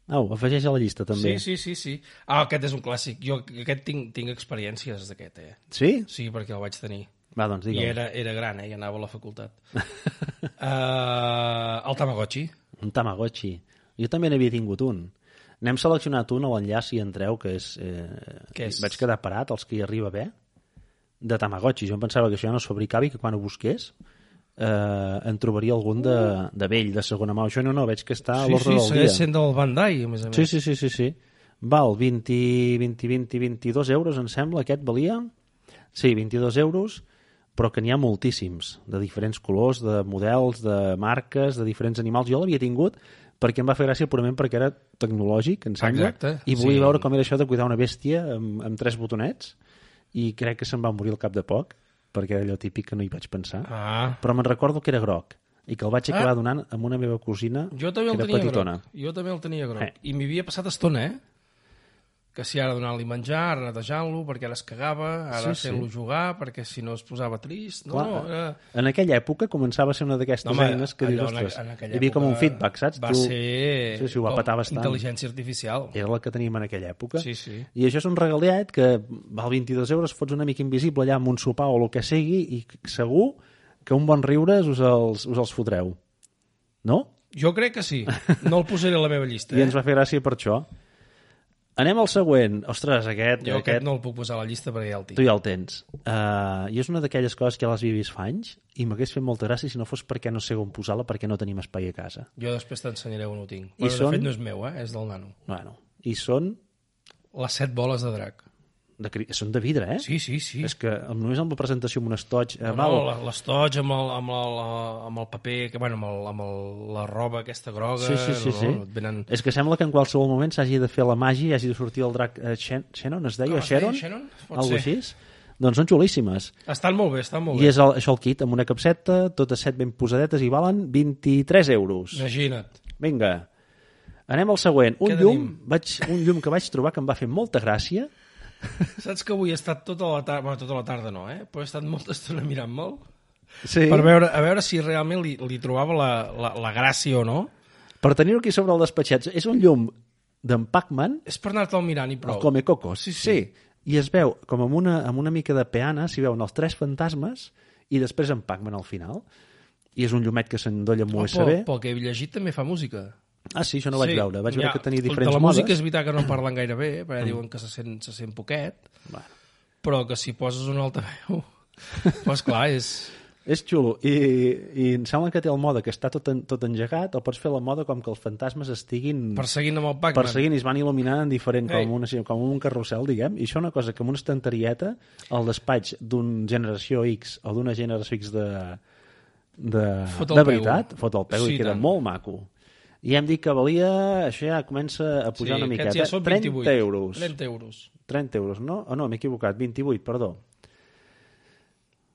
Speaker 1: Au, afegeix a la llista també.
Speaker 2: Sí, sí, sí, sí. Ah, aquest és un clàssic. Jo aquest tinc, tinc experiències d'aquest, eh?
Speaker 1: sí. sí?
Speaker 2: Sí, perquè el vaig tenir.
Speaker 1: Va, doncs
Speaker 2: I
Speaker 1: digue'm.
Speaker 2: era, era gran, eh? I anava a la facultat. uh, el Tamagotchi.
Speaker 1: Un Tamagotchi. Jo també n'havia tingut un. N'hem seleccionat un a l'enllaç i entreu, que és, eh,
Speaker 2: Què és?
Speaker 1: Vaig quedar parat, els que hi arriba bé, de Tamagotchi. Jo em pensava que això ja no es fabricava i que quan ho busqués eh, en trobaria algun de, de vell, de segona mà. Això no, no, veig que està a Ah,
Speaker 2: sí,
Speaker 1: l'ordre
Speaker 2: sí,
Speaker 1: del dia.
Speaker 2: segueix sent del Bandai, a més a més.
Speaker 1: Sí, sí, sí, sí, sí. Val 20, 20, 20, 22 euros, em sembla, aquest valia. Sí, 22 euros, però que n'hi ha moltíssims, de diferents colors, de models, de marques, de diferents animals. Jo l'havia tingut perquè em va fer gràcia purament perquè era tecnològic, em sembla,
Speaker 2: Exacte,
Speaker 1: i volia
Speaker 2: sí.
Speaker 1: veure com era això de cuidar una bèstia amb, amb tres botonets, i crec que se'n va morir al cap de poc, perquè era allò típic que no hi vaig pensar.
Speaker 2: Ah,
Speaker 1: Però me'n recordo que era groc, i que el vaig acabar donant amb una meva cosina
Speaker 2: jo també el
Speaker 1: que era
Speaker 2: tenia
Speaker 1: petitona.
Speaker 2: groc. Jo també el tenia groc.
Speaker 1: Eh.
Speaker 2: I m'hi havia passat estona, eh? Que si ara donant-li menjar, ara netejant-lo, perquè ara es cagava, ara
Speaker 1: Sí, sí.
Speaker 2: sí, fent-lo jugar, perquè si no es posava trist. No,
Speaker 1: Clar,
Speaker 2: no, era...
Speaker 1: En aquella època començava a ser una d'aquestes
Speaker 2: home,
Speaker 1: eines Doncs que dius,
Speaker 2: allò en-
Speaker 1: ostres,
Speaker 2: en aquella
Speaker 1: hi havia com un
Speaker 2: època
Speaker 1: feedback, saps?
Speaker 2: Va
Speaker 1: tu,
Speaker 2: ser...
Speaker 1: Sí, sí, ho va
Speaker 2: com
Speaker 1: petar bastant.
Speaker 2: Intel·ligència artificial.
Speaker 1: Era la que teníem en aquella època.
Speaker 2: Sí, sí.
Speaker 1: I això és un regalet que val 22 euros, fots una mica invisible allà amb un sopar o el que sigui i segur que un bon riure us els, us els fotreu. No?
Speaker 2: Jo crec que sí. No el posaré a la meva llista.
Speaker 1: I
Speaker 2: Eh?
Speaker 1: ens va fer gràcia per això. Anem al següent. Ostres, aquest...
Speaker 2: Jo aquest no el puc posar a la llista perquè ja el tinc.
Speaker 1: Tu ja el tens. Uh, I és una d'aquelles coses que ja les havia vist fa anys i m'hagués fet molta gràcia si no fos perquè no sé on posar-la, perquè no tenim espai a casa.
Speaker 2: Jo després t'ensenyaré on ho tinc. Bueno,
Speaker 1: són?
Speaker 2: De fet, no és meu, eh? és del nano.
Speaker 1: Bueno, i són
Speaker 2: Les set boles de drac.
Speaker 1: de, cri- són de vidre, eh?
Speaker 2: Sí, sí, sí.
Speaker 1: És que amb- només amb la presentació amb un estoig... Eh,
Speaker 2: No,
Speaker 1: val,
Speaker 2: no, l'estoig amb, el, amb, el, amb el paper, que, bueno, amb, el, amb el, la roba aquesta groga,
Speaker 1: Sí, sí, sí,
Speaker 2: no,
Speaker 1: sí.
Speaker 2: no, et venen...
Speaker 1: És que sembla que en qualsevol moment s'hagi de fer la màgia i hagi de sortir el drac... Eh, Shen Shannon es deia? o
Speaker 2: Com Ah, es deia,
Speaker 1: Sharon?
Speaker 2: Shannon? Pot
Speaker 1: Algo
Speaker 2: ser.
Speaker 1: així? Doncs són xulíssimes.
Speaker 2: Estan molt bé, estan molt
Speaker 1: I
Speaker 2: bé.
Speaker 1: és el, això el kit, amb una capseta, totes set ben posadetes i valen 23 euros.
Speaker 2: Imagina't.
Speaker 1: Vinga. Anem al següent. Un
Speaker 2: Què
Speaker 1: llum, vaig, un llum que vaig trobar que em va fer molta gràcia.
Speaker 2: Saps que avui he estat tota la tarda, bueno, tota la tarda no, eh? però he estat molta estona mirant-me'l
Speaker 1: Sí.
Speaker 2: per
Speaker 1: Per,
Speaker 2: veure, a veure si realment li, li trobava la, la, la gràcia o no.
Speaker 1: per tenir-ho aquí sobre el despatxet. És un llum d'en Pac-Man
Speaker 2: És per anar-te'l mirant i prou.
Speaker 1: El Come Cocos.
Speaker 2: Sí, sí.
Speaker 1: I es veu, com amb una, amb una mica de peana, s'hi veuen els tres fantasmes i després en Pac-Man al final. I és un llumet que s'endolla
Speaker 2: Ah,
Speaker 1: amb USB.
Speaker 2: Pel, pel que he llegit també fa música.
Speaker 1: Ah, sí, això no ho vaig veure. Vaig veure que tenia diferents
Speaker 2: De la
Speaker 1: modes. Mm.
Speaker 2: música és veritat que no en parlen gaire bé, perquè diuen que se sent, se sent poquet,
Speaker 1: Bueno,
Speaker 2: però que si poses un altaveu... doncs clar, és...
Speaker 1: és xulo. I, I em sembla que té el mode que està tot, en, tot engegat o pots fer la moda com que els fantasmes estiguin
Speaker 2: Perseguint amb el Pac-Man.
Speaker 1: perseguint i es van il·luminant en diferent,
Speaker 2: Ei.
Speaker 1: com, una, com un carrusel, diguem. I això una cosa que amb una estanterieta al despatx d'un generació X o d'una generació X de, de,
Speaker 2: Fot el
Speaker 1: de
Speaker 2: peu.
Speaker 1: veritat, fot el peu
Speaker 2: Sí,
Speaker 1: sí, i queda
Speaker 2: tant.
Speaker 1: molt maco. I ja hem dit que valia... Això ja comença a pujar una miqueta.
Speaker 2: aquests ja són 28.
Speaker 1: 30 euros.
Speaker 2: 30 euros.
Speaker 1: 30 euros, no? Oh, no, m'he equivocat. 28, perdó.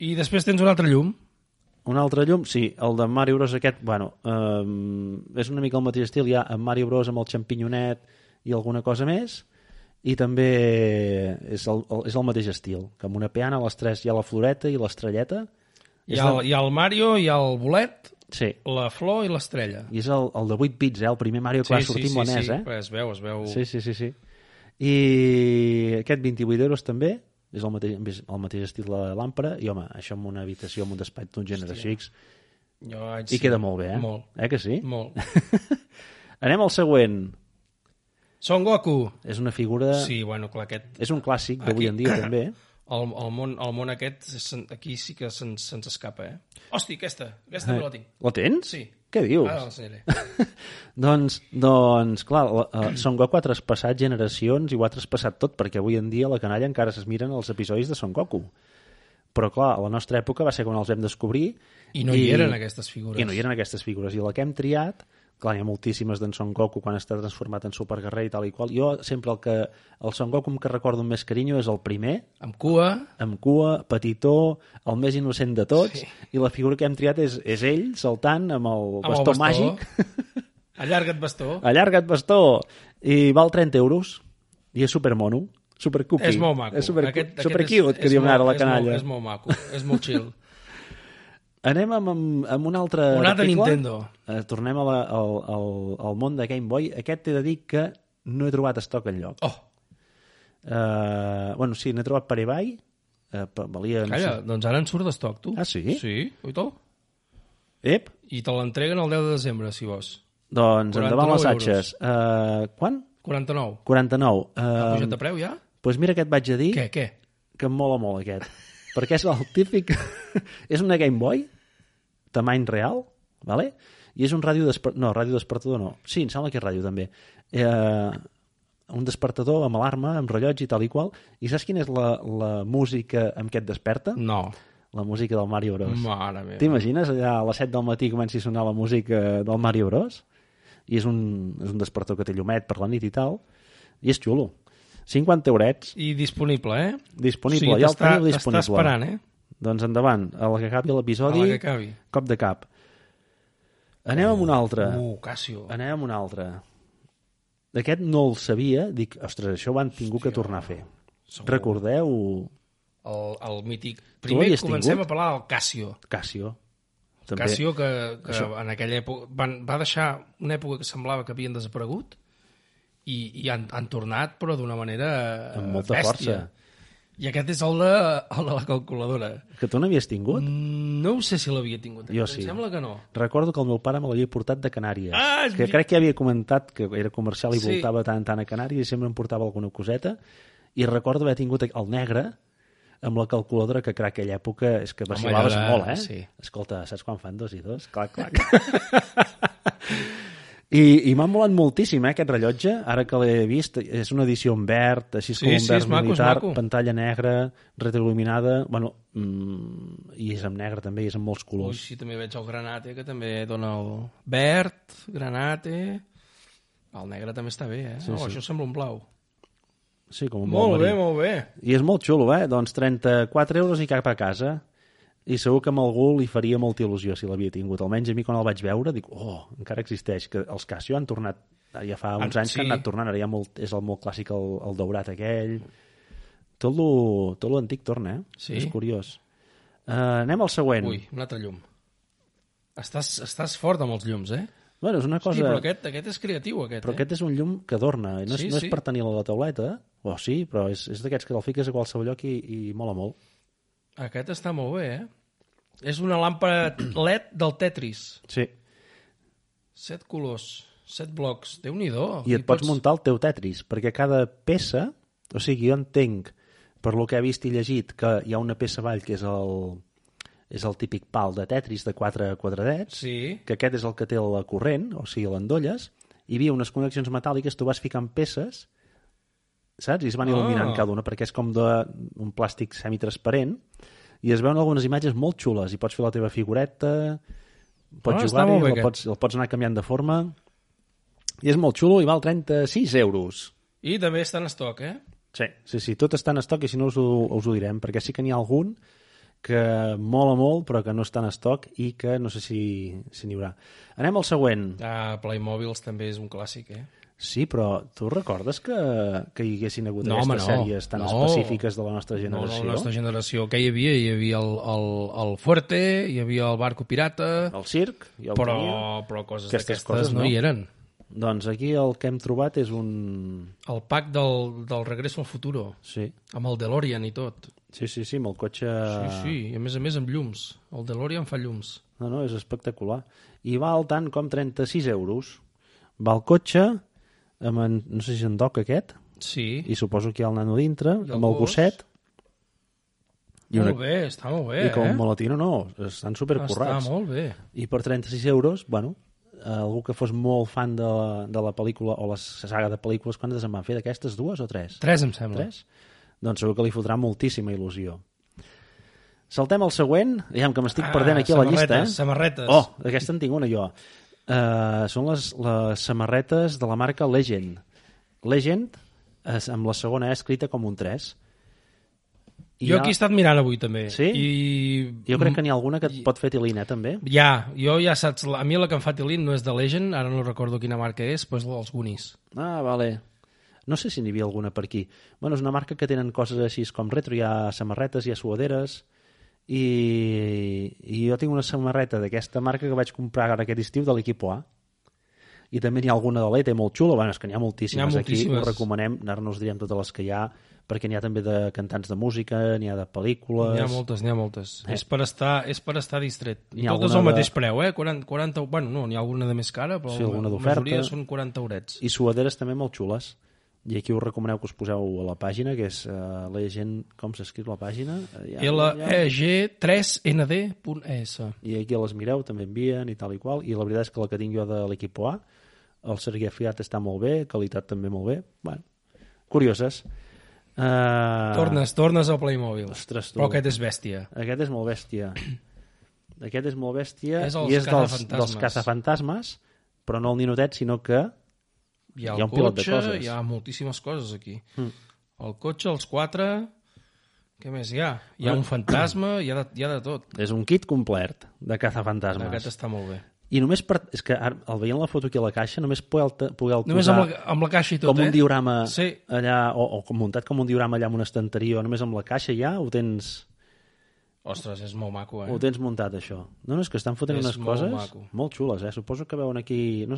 Speaker 2: I després tens un altre llum.
Speaker 1: Un altre llum, sí, el de ehm, Mario Bros aquest, bueno, um, és una mica el mateix estil, ja amb Mario Bros amb el xampinyonet i alguna cosa més i també és el, el, és el mateix estil, que amb una peana a les tres hi ha la floreta i l'estrelleta
Speaker 2: Hi ha, el, hi ha el Mario, hi ha el bolet,
Speaker 1: sí,
Speaker 2: la flor i l'estrella.
Speaker 1: i és el, el de 8 bits, eh? el primer Mario que va sortir amb la NES,
Speaker 2: sí,
Speaker 1: eh?
Speaker 2: però Es veu, es veu...
Speaker 1: Sí, sí, sí, sí. I aquest 28 euros també, és el mateix, és el mateix estil de la làmpara, i home, això en una habitació, en un despatx d'un gènere xics,
Speaker 2: Jo vaig...
Speaker 1: i queda molt bé, eh?
Speaker 2: Molt,
Speaker 1: Eh que sí?
Speaker 2: molt.
Speaker 1: Anem al següent.
Speaker 2: Son Goku.
Speaker 1: És una figura... Sí.
Speaker 2: Ah. Sí, bueno, clar, aquest...
Speaker 1: És un clàssic d'avui
Speaker 2: Aquí.
Speaker 1: en dia, també.
Speaker 2: El, el, món, el món aquest, se- aquí sí que se'ns se escapa, eh? Hosti, aquesta, aquesta també la tinc.
Speaker 1: La tens?
Speaker 2: Sí.
Speaker 1: Què dius?
Speaker 2: Ara l'ensenyaré.
Speaker 1: Doncs, doncs clar, la, uh, Son Goku ha traspassat generacions i ho ha traspassat tot, perquè avui en dia a la canalla encara es miren els episodis de Son Goku. Però, clar, a la nostra època va ser quan els vam descobrir
Speaker 2: I no I... hi eren aquestes figures.
Speaker 1: I no hi eren aquestes figures. I la que hem triat, clar, hi ha moltíssimes d'en Son Goku quan està transformat en Super Guerrer i tal i qual. Jo sempre el que... El Son Goku que recordo amb més carinyo és el primer,
Speaker 2: Amb cua,
Speaker 1: amb cua, petitó, el més innocent de tots, sí. i la figura que hem triat és, és ell saltant amb el,
Speaker 2: amb
Speaker 1: bastó,
Speaker 2: el bastó
Speaker 1: màgic,
Speaker 2: Allarga't bastó.
Speaker 1: allarga't bastó, i val 30 euros, i és supermono, supercupi.
Speaker 2: És molt maco.
Speaker 1: És super, aquest, super cute, que diuen
Speaker 2: molt-
Speaker 1: ara la
Speaker 2: és
Speaker 1: canalla.
Speaker 2: Molt, és molt maco, és molt chill.
Speaker 1: Anem amb, amb, amb un altre...
Speaker 2: Un altre
Speaker 1: article.
Speaker 2: Nintendo.
Speaker 1: Eh, tornem a la, al, al, al món de Game Boy. Aquest t'he de dir que no he trobat estoc enlloc.
Speaker 2: Oh,
Speaker 1: Eh, bueno, sí, n'he trobat per eBay. Eh, però valia... no
Speaker 2: calla, doncs ara en surt d'estoc, tu.
Speaker 1: Ah, sí?
Speaker 2: Sí, oi tu?
Speaker 1: Sé... Ep,
Speaker 2: I te l'entreguen el 10 de desembre, si vols.
Speaker 1: doncs
Speaker 2: 49
Speaker 1: endavant les
Speaker 2: euros.
Speaker 1: atxes. Eh, quan?
Speaker 2: 49.
Speaker 1: 49.
Speaker 2: Ha
Speaker 1: Eh,
Speaker 2: pujat de preu, ja?
Speaker 1: doncs mira què et vaig a dir,
Speaker 2: Ah, Què, què?
Speaker 1: que em mola molt aquest. Perquè és el típic... és una Game Boy, tamany real, vale? i és un ràdio despertador... No, ràdio despertador no. Sí, em sembla que és ràdio també. Eh, un despertador amb alarma, amb rellotge i tal i qual. I saps quina és la, la música amb què et desperta?
Speaker 2: No.
Speaker 1: La música del Mario Bros.
Speaker 2: Mare meva.
Speaker 1: T'imagines allà a les 7 del matí comenci a sonar la música del Mario Bros? I és un, és un despertador que té llumet per la nit i tal. I és xulo. 50 eurets
Speaker 2: I disponible, eh?
Speaker 1: disponible.
Speaker 2: o sigui,
Speaker 1: ja el
Speaker 2: t'està-
Speaker 1: teniu disponible.
Speaker 2: T'està esperant, eh?
Speaker 1: Doncs endavant, a la que acabi
Speaker 2: A
Speaker 1: l'episodi,
Speaker 2: la que acabi.
Speaker 1: cop de cap. Anem amb un altre.
Speaker 2: Uh, Casio.
Speaker 1: Anem amb un altre. Aquest no el sabia, dic, ostres, això ho han tingut que tornar a fer.
Speaker 2: segur.
Speaker 1: Recordeu
Speaker 2: El, el mític. Primer
Speaker 1: l'havies
Speaker 2: comencem
Speaker 1: tingut?
Speaker 2: a parlar del Casio.
Speaker 1: Casio?
Speaker 2: També. Casio que, que en aquella època van, va deixar una època que semblava que havien desaparegut i, i han, han tornat però d'una manera eh,
Speaker 1: Amb molta
Speaker 2: bèstia. I aquest és el de, el de la calculadora.
Speaker 1: Que tu n'havies tingut?
Speaker 2: No ho sé si l'havia tingut. eh?
Speaker 1: Jo
Speaker 2: Em
Speaker 1: sí.
Speaker 2: Sembla que no.
Speaker 1: Recordo que el meu pare me l'havia portat de Canàries.
Speaker 2: Ah, és
Speaker 1: que
Speaker 2: vi-
Speaker 1: crec que ja havia comentat que era comercial i
Speaker 2: Sí.
Speaker 1: voltava tant tant a Canàries i sempre em portava alguna coseta. I recordo haver tingut el negre amb la calculadora que crec que aquella època és que vacilaves
Speaker 2: allò de-
Speaker 1: molt, eh?
Speaker 2: sí.
Speaker 1: Escolta, saps quan fan dos i dos? Clac, clac. I, i m'ha molat moltíssim, eh, aquest rellotge, ara que l'he vist. És una edició en verd, així
Speaker 2: Sí,
Speaker 1: com un
Speaker 2: sí,
Speaker 1: verd
Speaker 2: és maco, és
Speaker 1: militar,
Speaker 2: maco.
Speaker 1: pantalla negra, retroil·luminada... Bueno, mm, i és en negre també, i és en molts
Speaker 2: Ui,
Speaker 1: colors.
Speaker 2: sí, també veig el granate, que també dona el verd, granate... El negre també està bé, eh? Sí, oh, sí. Això sembla un blau.
Speaker 1: Sí, com un
Speaker 2: Molt
Speaker 1: marí.
Speaker 2: bé, molt bé.
Speaker 1: I és molt xulo, eh? Doncs 34 euros i cap a casa. I segur que amb algú li faria molta il·lusió si l'havia tingut. Almenys a mi quan el vaig veure dic, oh, encara existeix, que els Casio han tornat, ja fa uns
Speaker 2: Ah,
Speaker 1: anys que han
Speaker 2: sí.
Speaker 1: anat tornant, ara ja molt, és el molt clàssic, el, el daurat aquell. Tot lo, tot lo antic torna, eh?
Speaker 2: Sí.
Speaker 1: És curiós. Uh, anem al següent.
Speaker 2: Ui, un altre llum. Estàs, estàs fort amb els llums, eh?
Speaker 1: Bueno, és una cosa...
Speaker 2: Sí, però aquest, aquest és creatiu, aquest,
Speaker 1: Però
Speaker 2: eh?
Speaker 1: aquest és un llum que adorna, eh? no és,
Speaker 2: Sí,
Speaker 1: no és
Speaker 2: sí.
Speaker 1: per tenir-lo a la tauleta, o sí, però és, és d'aquests que el fiques a qualsevol lloc i, i mola molt.
Speaker 2: Aquest està molt bé, eh? És una làmpara LED del Tetris.
Speaker 1: Sí.
Speaker 2: Set colors, set blocs. Déu-n'hi-do.
Speaker 1: Oh, I et pots muntar el teu Tetris, perquè cada peça... O sigui, jo entenc, per lo que he vist i llegit, que hi ha una peça avall que és el, és el típic pal de Tetris de quatre quadradets,
Speaker 2: Sí,
Speaker 1: que aquest és el que té la corrent, o sigui, l'endolles, hi havia unes connexions metàl·liques, tu vas ficant peces, saps? I es van il·luminant
Speaker 2: Ah.
Speaker 1: cada una, perquè és com de, un plàstic semitransparent, i es veuen algunes imatges molt xules, i pots fer la teva figureta, pots
Speaker 2: Ah,
Speaker 1: ah,
Speaker 2: està
Speaker 1: jugar-hi,
Speaker 2: molt bé
Speaker 1: el,
Speaker 2: aquest.
Speaker 1: pots, el pots anar canviant de forma, i és molt xulo, i val 36 euros.
Speaker 2: i també està en estoc, eh?
Speaker 1: Sí. Sí, sí, tot està en estoc i si no us ho, us ho direm, perquè sí que n'hi ha algun que mola molt però que no està en estoc i que no sé si si n'hi haurà. Anem al següent.
Speaker 2: Ah, Playmobil també és un clàssic, eh?
Speaker 1: Sí, però tu recordes que, que hi haguessin hagut
Speaker 2: No, home,
Speaker 1: aquestes
Speaker 2: no.
Speaker 1: sèries tan
Speaker 2: No.
Speaker 1: específiques de la nostra
Speaker 2: No, no,
Speaker 1: generació?
Speaker 2: la nostra generació. Què hi havia? Hi havia el, el, el Fuerte, hi havia el Barco Pirata,
Speaker 1: El circ, ja ho
Speaker 2: però,
Speaker 1: tenia.
Speaker 2: però coses
Speaker 1: Aquestes
Speaker 2: d'aquestes
Speaker 1: coses,
Speaker 2: no
Speaker 1: no.
Speaker 2: hi eren.
Speaker 1: Doncs aquí el que hem trobat és un...
Speaker 2: El pack del, del Regreso al Futuro,
Speaker 1: Sí,
Speaker 2: amb el DeLorean i tot.
Speaker 1: sí, sí, sí amb el cotxe...
Speaker 2: Sí, sí, i a més a més amb llums. El DeLorean fa llums.
Speaker 1: No, no, és espectacular. I val tant com 36 euros. Va el cotxe, amb en, no sé si en doc aquest,
Speaker 2: Sí,
Speaker 1: i suposo que hi ha el nano dintre,
Speaker 2: el
Speaker 1: amb el
Speaker 2: gos.
Speaker 1: gosset, i
Speaker 2: molt
Speaker 1: una-
Speaker 2: bé, està molt bé,
Speaker 1: i com
Speaker 2: eh?
Speaker 1: un maletí. No, no, estan
Speaker 2: Està
Speaker 1: supercorrats.
Speaker 2: molt bé.
Speaker 1: I per 36 euros, bueno, eh, algú que fos molt fan de la, de la pel·lícula o la saga de pel·lícules, quantes en van fer d'aquestes? Dues o tres?
Speaker 2: Tres, em sembla.
Speaker 1: Tres? Doncs segur que li fotrà moltíssima il·lusió. Saltem al següent. Aviam, que
Speaker 2: Ah,
Speaker 1: m'estic perdent aquí a la
Speaker 2: samarretes,
Speaker 1: llista, eh?
Speaker 2: Samarretes,
Speaker 1: Oh, d'aquesta en tinc una jo. Uh, són les, les samarretes de la marca Legend. Legend, és, amb la segona E escrita com un 3.
Speaker 2: Jo aquí he estat mirant avui també.
Speaker 1: Sí?
Speaker 2: I...
Speaker 1: jo crec que n'hi ha alguna
Speaker 2: Mm.
Speaker 1: que et pot fer tilina, també.
Speaker 2: Ja, jo ja saps, la- a mi la que em fa tilint no és de Legend, ara no recordo quina marca és, però és la dels Goonies.
Speaker 1: Ah, vale. No sé si n'hi havia alguna per aquí. Bueno, és una marca que tenen coses així com retro, hi ha samarretes, hi ha suaderes, i, i jo tinc una samarreta d'aquesta marca que vaig comprar ara aquest estiu de l'Equipo A. I també n'hi ha alguna de l'ETA molt xula, bueno, és que n'hi ha moltíssimes,
Speaker 2: N'hi ha moltíssimes.
Speaker 1: aquí, ho recomanem, anar-nos direm totes les que hi ha, perquè n'hi ha també de cantants de música, n'hi ha de pel·lícules...
Speaker 2: N'hi ha moltes, n'hi ha moltes.
Speaker 1: Eh.
Speaker 2: És, per estar, és per estar distret. I
Speaker 1: N'hi ha
Speaker 2: totes
Speaker 1: alguna
Speaker 2: al mateix
Speaker 1: de-
Speaker 2: preu, eh? 40, 40, bueno, no, n'hi ha alguna de més cara, però
Speaker 1: Sí, alguna
Speaker 2: la
Speaker 1: d'oferta.
Speaker 2: majoria són 40 horets.
Speaker 1: I suaderes també molt xules. I aquí us recomaneu que us poseu a la pàgina, que és uh, la gent... Com s'escriu la pàgina? Eh, ja- Ah. ja-
Speaker 2: E LEG3ND.es
Speaker 1: i aquí les mireu, també envien i tal i qual, i la veritat és que la que tinc jo de l'equip A, el Sergi Fiat està molt bé, qualitat també molt bé, bueno, curioses. Uh,
Speaker 2: Tornes, tornes al Playmobil.
Speaker 1: Ostres, tu.
Speaker 2: Però aquest és bèstia.
Speaker 1: Aquest és molt bèstia. Aquest és molt bèstia
Speaker 2: És els
Speaker 1: i és dels,
Speaker 2: cazafantasmes.
Speaker 1: dels cazafantasmes, però no el ninotet, sinó que...
Speaker 2: Hi ha
Speaker 1: Hi ha
Speaker 2: el
Speaker 1: un pilot de
Speaker 2: cotxe,
Speaker 1: coses. Hmm.
Speaker 2: hi ha moltíssimes coses aquí. Mm. El cotxe, els quatre... Què més hi ha? Hi ha un fantasma, hi ha de, hi ha de tot.
Speaker 1: És un kit complet de
Speaker 2: Mas. Aquest
Speaker 1: cazafantasmes.
Speaker 2: està molt bé.
Speaker 1: I només per... És que ara, al veient la foto aquí a la caixa, només podeu, podeu
Speaker 2: Només
Speaker 1: posar...
Speaker 2: amb la, amb la caixa i tot,
Speaker 1: com un
Speaker 2: eh?
Speaker 1: diorama
Speaker 2: Sí.
Speaker 1: allà, o, o com muntat com un diorama allà amb una estanteria, o només amb la caixa ja, ho tens,
Speaker 2: Ostres, és molt maco, eh?
Speaker 1: ho tens muntat, això. No, no, és que estan fotent
Speaker 2: És
Speaker 1: unes
Speaker 2: molt
Speaker 1: coses
Speaker 2: maco.
Speaker 1: molt xules, eh? Suposo que veuen aquí... No,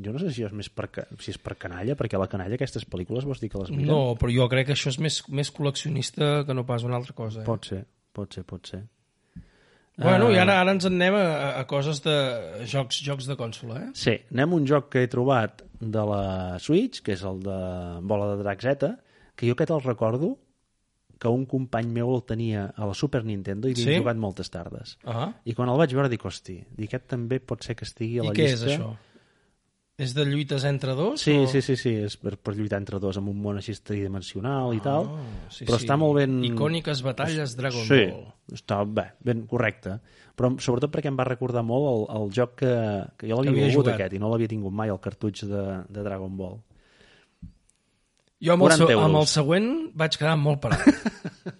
Speaker 1: jo no sé si és més per, ca- si és per canalla, perquè la canalla aquestes pel·lícules vols dir que les miren?
Speaker 2: No, però jo crec que això és més, més col·leccionista que no pas una altra cosa. Eh?
Speaker 1: Pot ser, pot ser, pot ser. Ah.
Speaker 2: Bueno, i ara, ara ens en anem a, a coses de jocs jocs de consola, eh?
Speaker 1: Sí, anem a un joc que he trobat de la Switch, que és el de Bola de Drac Z, que jo aquest el recordo que un company meu el tenia a la Super Nintendo i hi
Speaker 2: Sí?
Speaker 1: havia jugat moltes tardes.
Speaker 2: Ah.
Speaker 1: I quan el vaig veure dic, hosti, dic, aquest també pot ser que estigui a
Speaker 2: I
Speaker 1: la
Speaker 2: què és
Speaker 1: llista.
Speaker 2: això? És de lluites entre dos?
Speaker 1: Sí,
Speaker 2: o...
Speaker 1: sí, sí, sí, és per, per lluitar entre dos amb un món així tridimensional i tal.
Speaker 2: Ah, sí,
Speaker 1: però
Speaker 2: sí.
Speaker 1: està molt ben...
Speaker 2: Icòniques batalles Dragon
Speaker 1: sí,
Speaker 2: Ball.
Speaker 1: està bé, ben correcte. Però sobretot perquè em va recordar molt el, el joc que, que jo l'havia
Speaker 2: havia
Speaker 1: volgut
Speaker 2: jugat.
Speaker 1: aquest i no l'havia tingut mai, el cartutx de, de Dragon Ball.
Speaker 2: Jo amb el,
Speaker 1: 40
Speaker 2: se- amb el
Speaker 1: euros.
Speaker 2: següent vaig quedar molt parat.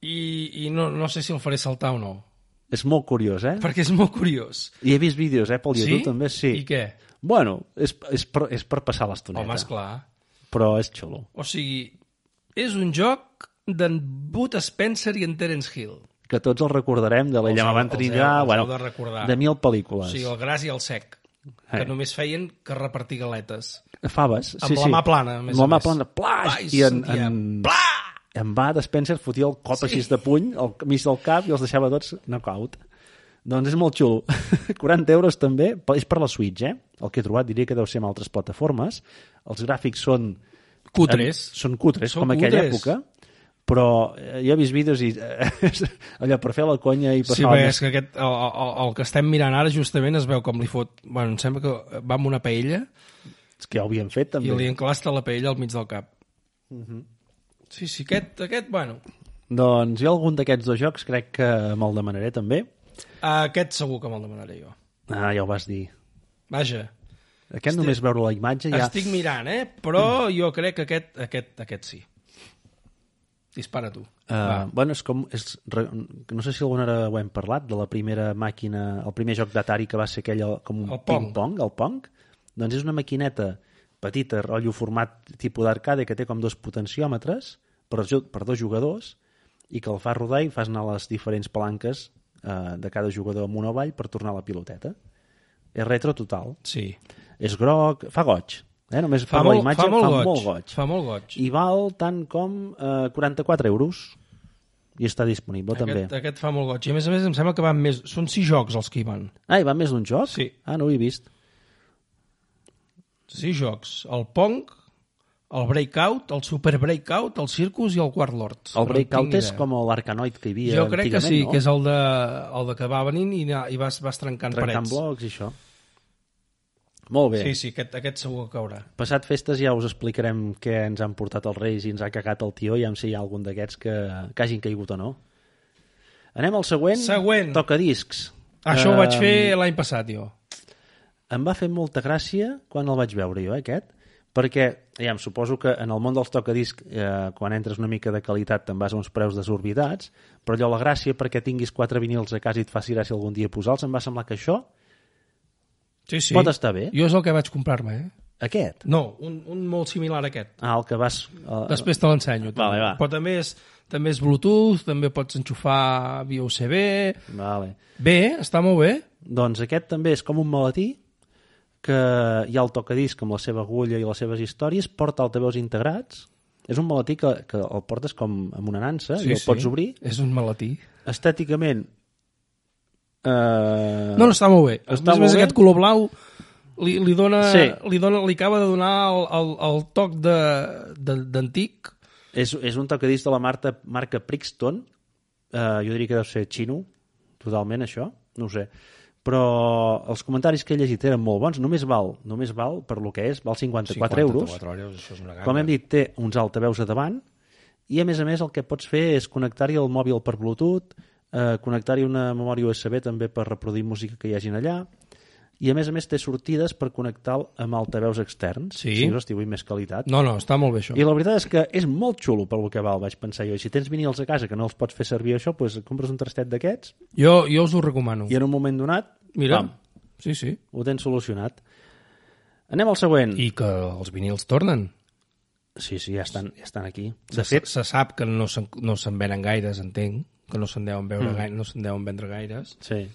Speaker 2: I, i no, no sé si el faré saltar o no,
Speaker 1: És molt curiós, eh?
Speaker 2: perquè és molt curiós.
Speaker 1: I he vist vídeos, eh, pel YouTube també, sí.
Speaker 2: I què?
Speaker 1: Bueno, és, és, per, és per passar l'estoneta,
Speaker 2: Home, esclar.
Speaker 1: però és xulo.
Speaker 2: O sigui, és un joc d'en Bud Spencer i en Terence Hill.
Speaker 1: Que tots el recordarem de la
Speaker 2: Els heu-
Speaker 1: Llama Van
Speaker 2: els heu-
Speaker 1: Trinidad,
Speaker 2: els
Speaker 1: bueno,
Speaker 2: heu de recordar.
Speaker 1: de mil
Speaker 2: O
Speaker 1: pel·lícules.
Speaker 2: sigui, el gras i el sec, que
Speaker 1: Eh.
Speaker 2: només feien que repartir galetes.
Speaker 1: Faves, sí,
Speaker 2: Amb la
Speaker 1: sí.
Speaker 2: mà plana, a més
Speaker 1: Amb la
Speaker 2: a
Speaker 1: mà
Speaker 2: més.
Speaker 1: plana, plaix!
Speaker 2: Pla, i
Speaker 1: I en,
Speaker 2: sentia
Speaker 1: en, en va, Spencer fotia el cop sí. així de puny al mig del cap i els deixava tots knockout. Doncs és molt xulo. 40 euros també, pe- és per la Switch, eh? El que he trobat diria que deu ser en altres plataformes. Els gràfics són...
Speaker 2: Cutres.
Speaker 1: En, són cutres,
Speaker 2: Són
Speaker 1: com aquella
Speaker 2: cutres.
Speaker 1: època. Però eh, jo he vist vídeos i eh, allò per fer la conya i
Speaker 2: Sí,
Speaker 1: passar...
Speaker 2: bé, és que aquest, el, el, el que estem mirant ara justament es veu com li fot... Bueno, em sembla que va amb una paella
Speaker 1: és que ja ho havien fet,
Speaker 2: i
Speaker 1: també.
Speaker 2: li enclasta la paella al mig del cap.
Speaker 1: Mhm.
Speaker 2: Sí, sí, aquest, aquest bueno,
Speaker 1: Doncs jo algun d'aquests dos jocs crec que me'l demanaré també.
Speaker 2: aquest segur que me'l demanaré jo.
Speaker 1: Ah, ja ho vas dir.
Speaker 2: Vaja,
Speaker 1: Aquest estic, només veure la imatge ja... Mm.
Speaker 2: estic mirant, eh? Però jo crec que aquest, aquest, aquest sí. Dispara tu.
Speaker 1: Uh, bueno, és com, és, re- no sé si alguna hora ho hem parlat, de la primera màquina, el primer joc d'Atari que va ser aquell el- com un
Speaker 2: El Pong.
Speaker 1: ping-pong, el Pong. Doncs és una maquineta petita, rotllo format tipus d'arcade, que té com dos potenciòmetres per, ju- per dos jugadors i que el fa rodar i fas anar les diferents palanques eh, de cada jugador amunt o avall per tornar la piloteta. És retro total.
Speaker 2: Sí.
Speaker 1: És groc, fa goig. Eh? Només fa
Speaker 2: Fa,
Speaker 1: per
Speaker 2: molt,
Speaker 1: la imatge
Speaker 2: fa, molt, goig.
Speaker 1: molt goig.
Speaker 2: Fa molt goig.
Speaker 1: I val tant com eh, 44 euros i està disponible
Speaker 2: Aquest, eh,
Speaker 1: també.
Speaker 2: aquest fa molt goig. I a més a més em sembla que van més... Són sis jocs els que hi van.
Speaker 1: Ah, i va més d'un joc?
Speaker 2: Sí.
Speaker 1: Ah, no ho he vist.
Speaker 2: Sis jocs. El Pong, el Breakout, el Super Breakout, el Circus i el Warlord.
Speaker 1: El Breakout és com l'arcanoid que hi havia
Speaker 2: Jo crec que sí,
Speaker 1: no?
Speaker 2: que és el de, el de que va venint i, anar- i vas, vas trencant
Speaker 1: Trencant
Speaker 2: parets.
Speaker 1: blocs i això. Molt bé.
Speaker 2: Sí, sí, aquest, aquest segur que caurà.
Speaker 1: Passat festes ja us explicarem què ens han portat els Reis i ens ha cagat el tio i ja si hi ha algun d'aquests que, que hagin caigut o no. Anem al següent.
Speaker 2: Següent.
Speaker 1: Toca discs.
Speaker 2: Això ho vaig
Speaker 1: Eh,
Speaker 2: fer l'any passat, jo.
Speaker 1: Em va fer molta gràcia quan el vaig veure jo, eh, aquest, perquè, ja, em suposo que en el món dels tocadisc, eh, quan entres una mica de qualitat, te'n vas a uns preus desorbitats, però allò, la gràcia perquè tinguis quatre vinils a casa i et faci gràcia algun dia posar-los, em va semblar que això,
Speaker 2: Sí, sí.
Speaker 1: pot estar bé.
Speaker 2: Jo és el que vaig comprar-me, eh?
Speaker 1: aquest,
Speaker 2: No, un, un molt similar a aquest.
Speaker 1: ah, el que vas... Eh,
Speaker 2: Després te l'ensenyo. també.
Speaker 1: Vale, va.
Speaker 2: Però també és, també és Bluetooth, també pots enxufar via USB...
Speaker 1: Vale.
Speaker 2: Bé, està molt bé.
Speaker 1: Doncs aquest també és com un maletí que hi ha el tocadisc amb la seva agulla i les seves històries, porta altaveus integrats, és un maletí que, que el portes com amb una nansa Ah, i el pots obrir.
Speaker 2: És un maletí.
Speaker 1: Estèticament, eh,
Speaker 2: Ah. No, no, està molt bé.
Speaker 1: Està
Speaker 2: Està a
Speaker 1: molt
Speaker 2: més, a més
Speaker 1: bé.
Speaker 2: aquest color blau li, li, dona, sí.
Speaker 1: Sí.
Speaker 2: li, dona, li acaba de donar el, el, el toc de- de- d'antic.
Speaker 1: és, és un tocadisc de la marca, marca Brixton, eh, jo diria que deu ser xino, totalment això, no ho sé, però els comentaris que he llegit eren molt bons, només val, només val per lo que és, val 54 euros,
Speaker 2: euros, això és una
Speaker 1: Com hem dit, té uns altaveus a davant i, a més a més, el que pots fer és connectar-hi el mòbil per Bluetooth, eh, connectar-hi una memòria USB també per reproduir música que hi hagin allà i, a més a més, té sortides per connectar amb altaveus externs.
Speaker 2: Sí.
Speaker 1: Si hosti, vull més qualitat.
Speaker 2: No, no, està molt bé, això.
Speaker 1: I la veritat és que és molt xulo pel que val, vaig pensar jo. I si tens vinils a casa que no els pots fer servir això, doncs et compres un trastet d'aquests
Speaker 2: Jo, jo us ho recomano.
Speaker 1: i en un moment donat
Speaker 2: Mira,
Speaker 1: pam,
Speaker 2: sí, sí.
Speaker 1: ho tens solucionat. Anem al següent.
Speaker 2: I que els vinils tornen.
Speaker 1: Sí, sí, ja estan, ja estan aquí.
Speaker 2: De fet, se sap que no se'n no se'n venen gaires, entenc, que no se'n deuen, veure mm. gaire, no se'n deuen vendre gaires,
Speaker 1: Sí.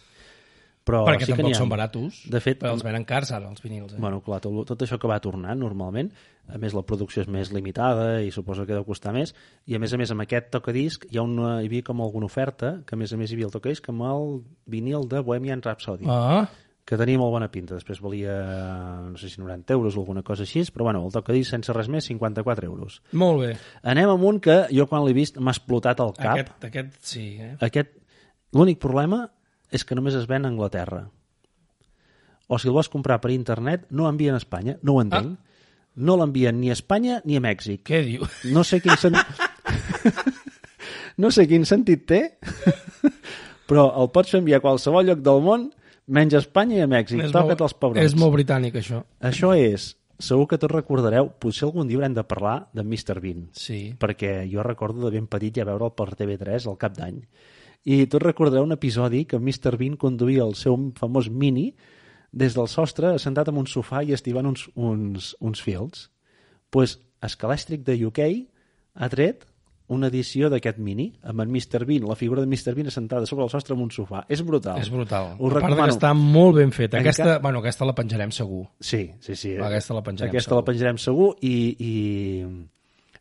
Speaker 1: Però
Speaker 2: perquè
Speaker 1: sí que n'hi
Speaker 2: tampoc
Speaker 1: ha.
Speaker 2: són baratos,
Speaker 1: De fet,
Speaker 2: però els venen cars ara, els vinils. Eh?
Speaker 1: Bueno, clar, tot, tot això que va tornant normalment, a més la producció és més limitada i suposo que deu costar més, i a més a més amb aquest tocadisc hi, ha una, hi havia com alguna oferta, que a més a més hi havia el tocadisc amb el vinil de Bohemian Rhapsody, ah.
Speaker 2: Ah,
Speaker 1: que tenia molt bona pinta, després valia no sé si 90 euros o alguna cosa així, però bueno, el tocadisc sense res més, 54 euros.
Speaker 2: molt bé.
Speaker 1: Anem amb un que jo quan l'he vist m'ha explotat el cap.
Speaker 2: Aquest, aquest sí, eh?
Speaker 1: Aquest, l'únic problema és que només es ven a Anglaterra. O si el vols comprar per internet, no l'envien a Espanya, no ho entenc. Ah. No l'envien ni a Espanya ni a Mèxic.
Speaker 2: Què diu?
Speaker 1: No sé quin sen... no sé quin sentit té, però el pots fer enviar a qualsevol lloc del món, menys a Espanya i a Mèxic.
Speaker 2: És
Speaker 1: Toca't
Speaker 2: molt-
Speaker 1: els pebrots.
Speaker 2: És molt britànic, això.
Speaker 1: Això és, segur que tots recordareu, potser algun dia haurem de parlar de Mr. Bean
Speaker 2: Sí.
Speaker 1: perquè jo recordo de ben petit ja veure'l per TV3 al cap d'any. I tot recordareu un episodi que Mr. Bean conduïa el seu famós mini des del sostre, sentat en un sofà i estivant uns, uns, uns fils. Doncs pues, Escalèstric de UK ha tret una edició d'aquest mini amb en Mr. Bean, la figura de Mr. Bean assentada sobre el sostre amb un sofà. És brutal.
Speaker 2: És
Speaker 1: Us
Speaker 2: brutal. a part de
Speaker 1: recomano.
Speaker 2: que està molt ben fet.
Speaker 1: Enca-
Speaker 2: Aquesta, bueno, aquesta la penjarem segur.
Speaker 1: Sí, sí, sí.
Speaker 2: Aquesta la penjarem
Speaker 1: Aquesta
Speaker 2: segur.
Speaker 1: la penjarem segur i, i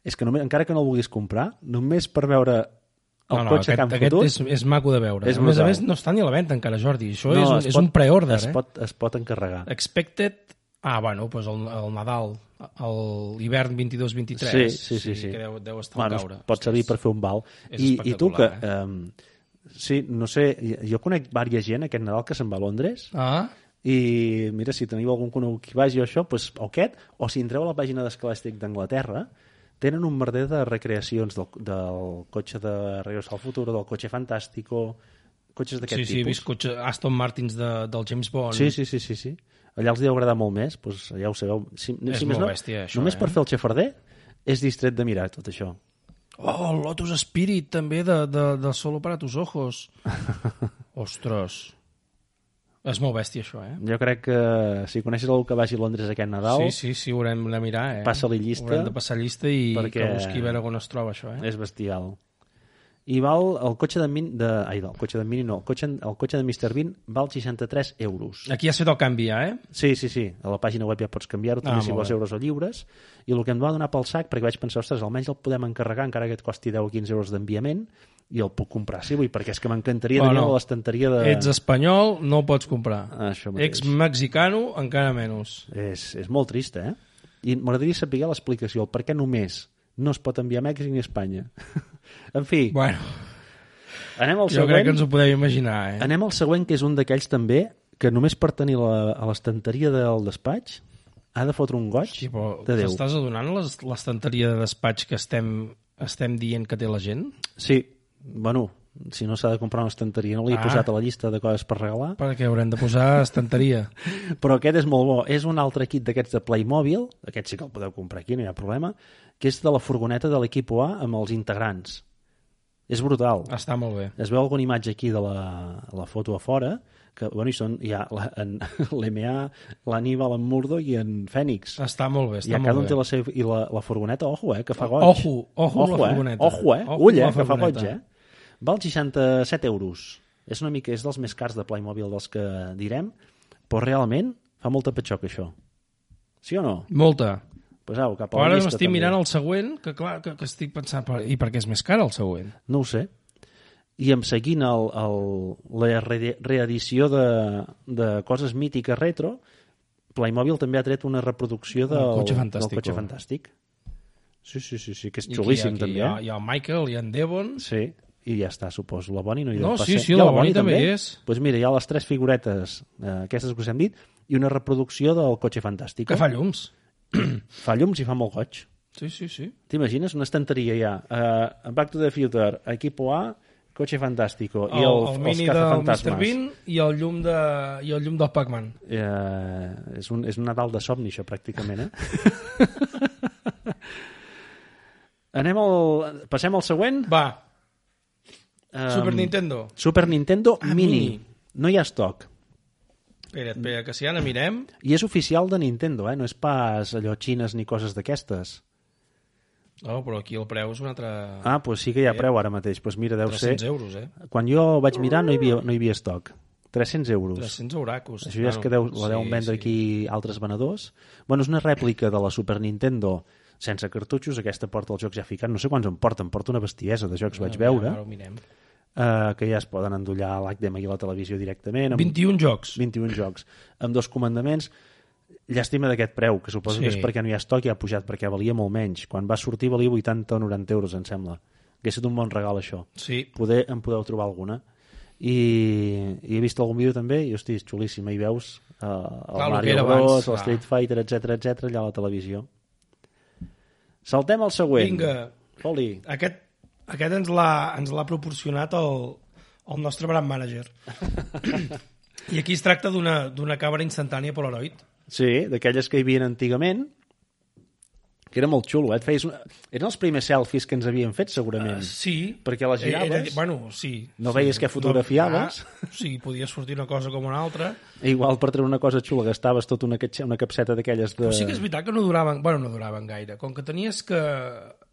Speaker 1: és que només, encara que no el vulguis comprar, només per veure el
Speaker 2: no, no,
Speaker 1: cotxe
Speaker 2: aquest,
Speaker 1: que han
Speaker 2: aquest
Speaker 1: fotut...
Speaker 2: és, és maco de veure.
Speaker 1: És
Speaker 2: a més a
Speaker 1: brutal.
Speaker 2: més, no està ni a la venda encara, Jordi. Això
Speaker 1: No,
Speaker 2: és, un,
Speaker 1: es
Speaker 2: és
Speaker 1: pot-
Speaker 2: un preorder,
Speaker 1: es
Speaker 2: eh?
Speaker 1: pot, es pot encarregar.
Speaker 2: Expected... Ah, bueno, doncs el, el Nadal, el hivern 22-23.
Speaker 1: Sí, sí, sí, sí.
Speaker 2: Que deu, deu estar bueno,
Speaker 1: Bueno,
Speaker 2: caure.
Speaker 1: es pot servir per fer un bal.
Speaker 2: és
Speaker 1: I, I tu que...
Speaker 2: espectacular,
Speaker 1: Eh? sí, no sé, jo conec diversa gent aquest Nadal que se'n va a Londres
Speaker 2: Ah,
Speaker 1: i mira, si teniu algun conegut que hi vagi o això, doncs, o aquest, o si entreu a la pàgina d'Escalàstic d'Anglaterra, tenen un merder de recreacions del, del cotxe de Regreso al Futuro, del cotxe Fantàstico, cotxes
Speaker 2: sí,
Speaker 1: d'aquest
Speaker 2: sí, he
Speaker 1: tipus.
Speaker 2: vist cotxe Aston Martins de, del James Bond.
Speaker 1: Sí, sí, sí, sí, sí. Allà els deu agradar molt més, doncs ja ho sabeu. Si,
Speaker 2: És
Speaker 1: si
Speaker 2: molt
Speaker 1: més no,
Speaker 2: bèstia, això,
Speaker 1: només
Speaker 2: eh?
Speaker 1: per fer el xafarder és distret de mirar tot això.
Speaker 2: Oh, el Lotus Spirit, també, de, de, de Solo para tus ojos. Ostres. És molt bèstia, això, eh?
Speaker 1: Jo crec que si coneixes algú que vagi a Londres aquest Nadal,
Speaker 2: Sí, sí, sí, haurem de mirar, eh?
Speaker 1: Passa-li llista.
Speaker 2: Haurem de passar llista i
Speaker 1: Perquè-
Speaker 2: que busqui a veure on es troba això, eh?
Speaker 1: és bestial. I val el cotxe de Min... De, ai, del cotxe de Mini no, el cotxe, el cotxe de Mr. Bean val 63 euros.
Speaker 2: Aquí has fet el canvi, ja, eh?
Speaker 1: Sí, sí, sí. A la pàgina web ja pots canviar-ho, també
Speaker 2: Ah,
Speaker 1: si
Speaker 2: molt
Speaker 1: vols
Speaker 2: bé.
Speaker 1: euros o lliures. I el que em va donar pel sac, perquè vaig pensar, ostres, almenys el podem encarregar, encara que et costi 10 o 15 euros d'enviament, i el puc comprar si vull, perquè és que m'encantaria
Speaker 2: Bueno,
Speaker 1: tenir a l'estanteria de...
Speaker 2: Ets espanyol, no ho pots comprar.
Speaker 1: Això Eh. Ah, mateix.
Speaker 2: Ex mexicano, encara menys.
Speaker 1: És, és molt trist, eh? I m'agradaria saber l'explicació, el per què només no es pot enviar a Mèxic ni a Espanya. en fi,
Speaker 2: Bueno,
Speaker 1: anem al
Speaker 2: jo
Speaker 1: següent. Ah,
Speaker 2: crec que ens ho podem imaginar, eh?
Speaker 1: Anem al següent, que és un d'aquells també, que només per tenir la, a l'estanteria del despatx ha de fotre un goig
Speaker 2: Sí, però
Speaker 1: de Déu.
Speaker 2: t'estàs adonant les- l'estanteria de despatx que estem, estem dient que té la gent?
Speaker 1: Sí, bueno, si no s'ha de comprar una estanteria, no l'he
Speaker 2: Ah.
Speaker 1: posat a la llista de coses per regalar,
Speaker 2: Perquè haurem de posar estanteria.
Speaker 1: però aquest és molt bo. És un altre kit d'aquests de Playmobil, aquest sí que el podeu comprar aquí, no hi ha problema, que és de la furgoneta de l'equip A amb els integrants. És brutal.
Speaker 2: Està molt bé.
Speaker 1: Es veu alguna imatge aquí de la, la foto a fora, que bueno, hi, són, hi ha la- en l'EMA, l'Aníbal, en Murdo i en Fènix.
Speaker 2: Està molt bé,
Speaker 1: I
Speaker 2: Ah, està
Speaker 1: a cada un
Speaker 2: molt
Speaker 1: té
Speaker 2: bé.
Speaker 1: la seva... I la, la furgoneta, ojo, eh, que fa goig.
Speaker 2: Ojo, ojo la
Speaker 1: eh?
Speaker 2: furgoneta.
Speaker 1: Ojo, eh?
Speaker 2: Ojo
Speaker 1: Ull, eh,
Speaker 2: la
Speaker 1: que fa
Speaker 2: furgoneta.
Speaker 1: goig, eh? Val 67 euros. És una mica, és dels més cars de Playmobil dels que direm, però realment fa molta petxoca, això. Sí o no?
Speaker 2: Molta.
Speaker 1: Pues au, cap
Speaker 2: Però
Speaker 1: a la
Speaker 2: ara
Speaker 1: llista,
Speaker 2: m'estic
Speaker 1: també.
Speaker 2: mirant el següent, que clar, que, que estic pensant... Per, I per què és més car el següent?
Speaker 1: No ho sé. I em seguint el, el, la re- reedició de, de coses mítiques retro, Playmobil també ha tret una reproducció del,
Speaker 2: Cotxe
Speaker 1: del
Speaker 2: Fantástico.
Speaker 1: cotxe fantàstic. Sí, sí, sí, sí, que és
Speaker 2: I
Speaker 1: xulíssim,
Speaker 2: aquí,
Speaker 1: també.
Speaker 2: Hi ha,
Speaker 1: eh?
Speaker 2: hi ha el Michael i en Devon.
Speaker 1: Sí, i ja està, suposo. La Bonnie no hi
Speaker 2: No,
Speaker 1: deu
Speaker 2: sí,
Speaker 1: passar.
Speaker 2: sí,
Speaker 1: Hi ha
Speaker 2: la Bonnie també hi és.
Speaker 1: Doncs pues mira, hi ha les tres figuretes, eh, aquestes que us hem dit, i una reproducció del cotxe fantàstic. eh?
Speaker 2: Que fa llums.
Speaker 1: fa llums i fa molt goig.
Speaker 2: Sí, sí, sí.
Speaker 1: T'imagines? Una estanteria ja. Uh, Back to the Future, Equipo A, Cotxe Fantàstico
Speaker 2: El,
Speaker 1: i el,
Speaker 2: el, el mini
Speaker 1: els
Speaker 2: del Mr.
Speaker 1: cazafantasmes.
Speaker 2: Bean i el llum, de, i el llum del Pac-Man.
Speaker 1: Eh, és, un, és un Nadal de somni, això, pràcticament, eh? Anem al... Passem al següent.
Speaker 2: Va,
Speaker 1: Um,
Speaker 2: Super Nintendo.
Speaker 1: Super Nintendo
Speaker 2: Ah,
Speaker 1: Mini.
Speaker 2: Mini.
Speaker 1: No hi ha stock.
Speaker 2: Espera, espera, que si ara mirem...
Speaker 1: I és oficial de Nintendo, eh? No és pas allò xines ni coses d'aquestes.
Speaker 2: Oh, però aquí el preu és un altre...
Speaker 1: Ah, doncs pues sí
Speaker 2: Eh,
Speaker 1: que hi ha preu ara mateix. Doncs pues mira, deu ser...
Speaker 2: 300 euros, eh?
Speaker 1: Quan jo vaig mirar no hi havia, no hi havia stock. 300 euros.
Speaker 2: 300 euracos.
Speaker 1: Això ja és que deu, la deuen vendre aquí altres venedors. Bueno, és una rèplica de la Super Nintendo sense cartutxos, aquesta porta els jocs ja ficats, no sé quants en porta, em porta una bestiesa de jocs, vaig veure,
Speaker 2: Ara ho mirem.
Speaker 1: eh, que ja es poden endollar a l'HDMI i a la televisió directament, amb
Speaker 2: 21 jocs.
Speaker 1: 21 jocs, amb dos comandaments, llàstima d'aquest preu, que suposo
Speaker 2: Sí.
Speaker 1: que és perquè no hi ha stock i ha pujat, perquè valia molt menys. Quan va sortir valia 80 o 90 euros, em sembla. Hauria estat un bon regal, això
Speaker 2: Sí.
Speaker 1: poder en podeu trobar alguna i, i he vist algun vídeo també i hosti, és xulíssima, hi veus eh, el Clar,
Speaker 2: Clar, el que
Speaker 1: Mario
Speaker 2: era
Speaker 1: Bros,
Speaker 2: abans,
Speaker 1: el
Speaker 2: clar.
Speaker 1: Street Fighter, etc etc allà a la televisió saltem al següent
Speaker 2: Vinga,
Speaker 1: Foli,
Speaker 2: aquest, aquest ens l'ha ens l'ha proporcionat el, el nostre brand manager. I aquí es tracta d'una d'una càmera instantània Polaroid.
Speaker 1: sí, d'aquelles que hi havia antigament que era molt xulo, eh? Et feies una... eren els primers selfies que ens havien fet segurament uh,
Speaker 2: Sí. Eh,
Speaker 1: Perquè la giraves?
Speaker 2: Era dir- bueno, sí.
Speaker 1: No
Speaker 2: sí,
Speaker 1: veies què fotografiaves? Eh.
Speaker 2: No, ah, sí, podia sortir una cosa com una altra.
Speaker 1: igual per treure una cosa xula gastaves tota una, catxe- una capseta d'aquelles de...
Speaker 2: Però sí que és veritat que no duraven, bueno, no duraven gaire. Com que tenies que...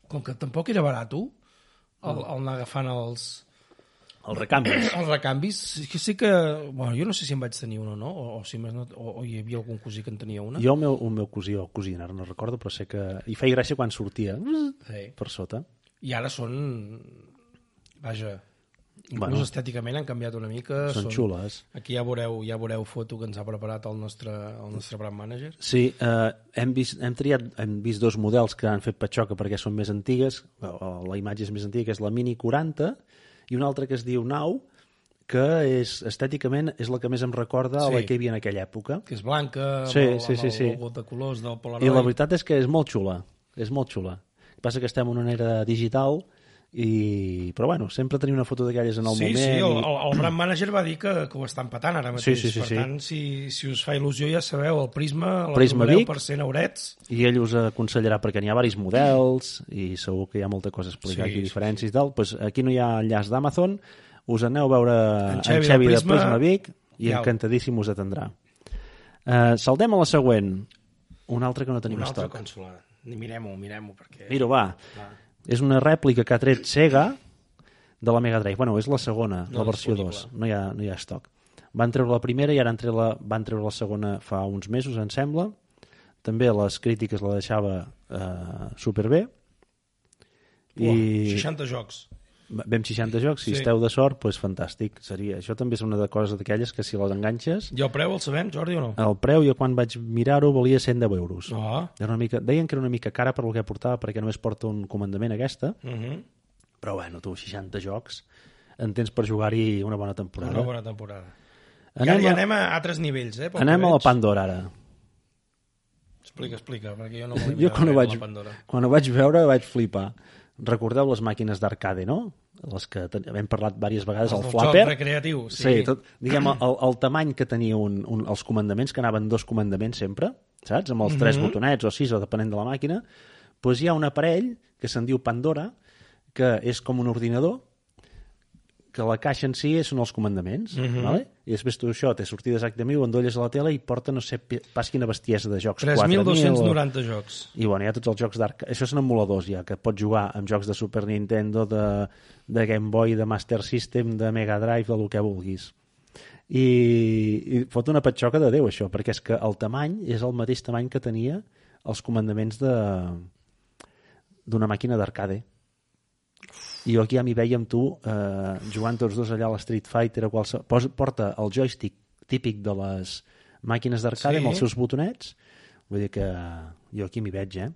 Speaker 2: Com que tampoc era barat, el, el anar agafant els,
Speaker 1: els recanvis
Speaker 2: els recanvis, sí que sí que... Bueno, jo no sé si en vaig tenir un o no, o, o si més no, o, o hi havia algun cosí que en tenia una.
Speaker 1: jo el meu, el meu cosí o cosina, ara no recordo però sé que hi feia gràcia quan sortia
Speaker 2: Sí.
Speaker 1: per sota
Speaker 2: I ara són... Vaja, inclús
Speaker 1: Bueno.
Speaker 2: bueno. estèticament han canviat una mica.
Speaker 1: són xules
Speaker 2: Aquí ja veureu, ja veureu foto que ens ha preparat el nostre, el nostre brand manager.
Speaker 1: Sí, eh, hem, vist, hem triat hem vist dos models que han fet patxoca perquè són més antigues, o- o la imatge és més antiga, que és la Mini 40, i una altra que es diu Now, que és, estèticament és la que més em recorda sí. a la
Speaker 2: Sí.
Speaker 1: que hi havia en aquella època.
Speaker 2: que és blanca,
Speaker 1: Sí,
Speaker 2: amb, el-
Speaker 1: sí,
Speaker 2: amb
Speaker 1: sí,
Speaker 2: el
Speaker 1: sí.
Speaker 2: logo de colors del
Speaker 1: I
Speaker 2: Polaroid.
Speaker 1: la veritat és que és molt xula, és molt xula. El que passa que estem en una era digital, i... però bueno, sempre tenir una foto d'aquelles en el
Speaker 2: sí,
Speaker 1: moment...
Speaker 2: sí, el,
Speaker 1: i-
Speaker 2: el, el brand manager va dir que, que ho estan patant ara mateix.
Speaker 1: sí, sí,
Speaker 2: per
Speaker 1: sí.
Speaker 2: tant, si, si us fa il·lusió, ja sabeu, el Prisma, la
Speaker 1: Prisma
Speaker 2: trobareu
Speaker 1: Vic.
Speaker 2: per 100 eurets.
Speaker 1: i ell us aconsellarà perquè n'hi ha varis models i segur que hi ha molta cosa a explicar
Speaker 2: Sí,
Speaker 1: sí, aquí,
Speaker 2: sí,
Speaker 1: diferències sí, sí. Pues aquí no hi ha enllaç d'Amazon us aneu a veure
Speaker 2: En
Speaker 1: en Xevi, en
Speaker 2: Xevi
Speaker 1: Xevi
Speaker 2: de
Speaker 1: de
Speaker 2: Prisma.
Speaker 1: Prisma Vic i
Speaker 2: Iau.
Speaker 1: encantadíssim us atendrà. Uh, saltem a la següent. Una altra que no tenim
Speaker 2: Una altra
Speaker 1: estoc.
Speaker 2: consola. Mirem-ho, mirem-ho, perquè...
Speaker 1: Mira-ho, va. És una rèplica que ha tret Sega de la Mega Drive. Bueno, és la segona,
Speaker 2: No
Speaker 1: la versió
Speaker 2: disponible.
Speaker 1: 2. No hi, ha, no hi ha stock. Van treure la primera i ara han treure la, van treure la segona fa uns mesos, em sembla. També les crítiques la deixava eh, superbé.
Speaker 2: Uah, 60 jocs.
Speaker 1: Vam 60 jocs, si
Speaker 2: Sí.
Speaker 1: sí. esteu de sort, doncs fantàstic. Seria. Això també és una de coses d'aquelles que si les enganxes...
Speaker 2: I el preu el sabem, Jordi, o no?
Speaker 1: El preu, jo quan vaig mirar-ho, valia 110 euros.
Speaker 2: No.
Speaker 1: Era una mica, deien que era una mica cara per el que portava, perquè només porta un comandament aquesta,
Speaker 2: Uh -huh.
Speaker 1: però bueno, tu, 60 jocs, en tens per jugar-hi una bona temporada.
Speaker 2: Una bona temporada. Anem,
Speaker 1: Anem,
Speaker 2: I ara,
Speaker 1: a,
Speaker 2: anem a altres nivells, eh? pel que
Speaker 1: anem a la
Speaker 2: veig.
Speaker 1: Pandora, ara.
Speaker 2: Explica, explica, perquè jo no vull
Speaker 1: Jo quan ho, vaig,
Speaker 2: eh, la Pandora.
Speaker 1: quan ho vaig veure vaig flipar. Recordeu les màquines d'arcade, no? Les que ten... hem parlat diverses vegades, el,
Speaker 2: del
Speaker 1: flapper.
Speaker 2: joc recreatiu, sí.
Speaker 1: sí tot, diguem, el, el tamany que tenia un, un, els comandaments, que anaven dos comandaments sempre, saps? Amb els mm -hmm. tres botonets o sis, o depenent de la màquina. Doncs pues hi ha un aparell que se'n diu Pandora, que és com un ordinador, que la caixa en si són els comandaments, mm -hmm. vale? i després tu això, té sortides HDMI, ho endolles a la tele i porta, no sé, pi- pas quina bestiesa de jocs. 4.000 o-
Speaker 2: 3.290 jocs.
Speaker 1: i bueno, hi ha tots els jocs d'arc... Això són emuladors ja, que pots jugar amb jocs de Super Nintendo, de, de Game Boy, de Master System, de Mega Drive, del que vulguis. I, I fot una patxoca de Déu, això, perquè és que el tamany és el mateix tamany que tenia els comandaments de d'una màquina d'arcade. I jo aquí ja m'hi veia amb tu eh, jugant tots dos allà a la Street Fighter o qualse... Posa, porta el joystick típic de les màquines d'arcade sí.
Speaker 2: Sí.
Speaker 1: amb els seus botonets. Vull dir que jo aquí m'hi veig, eh?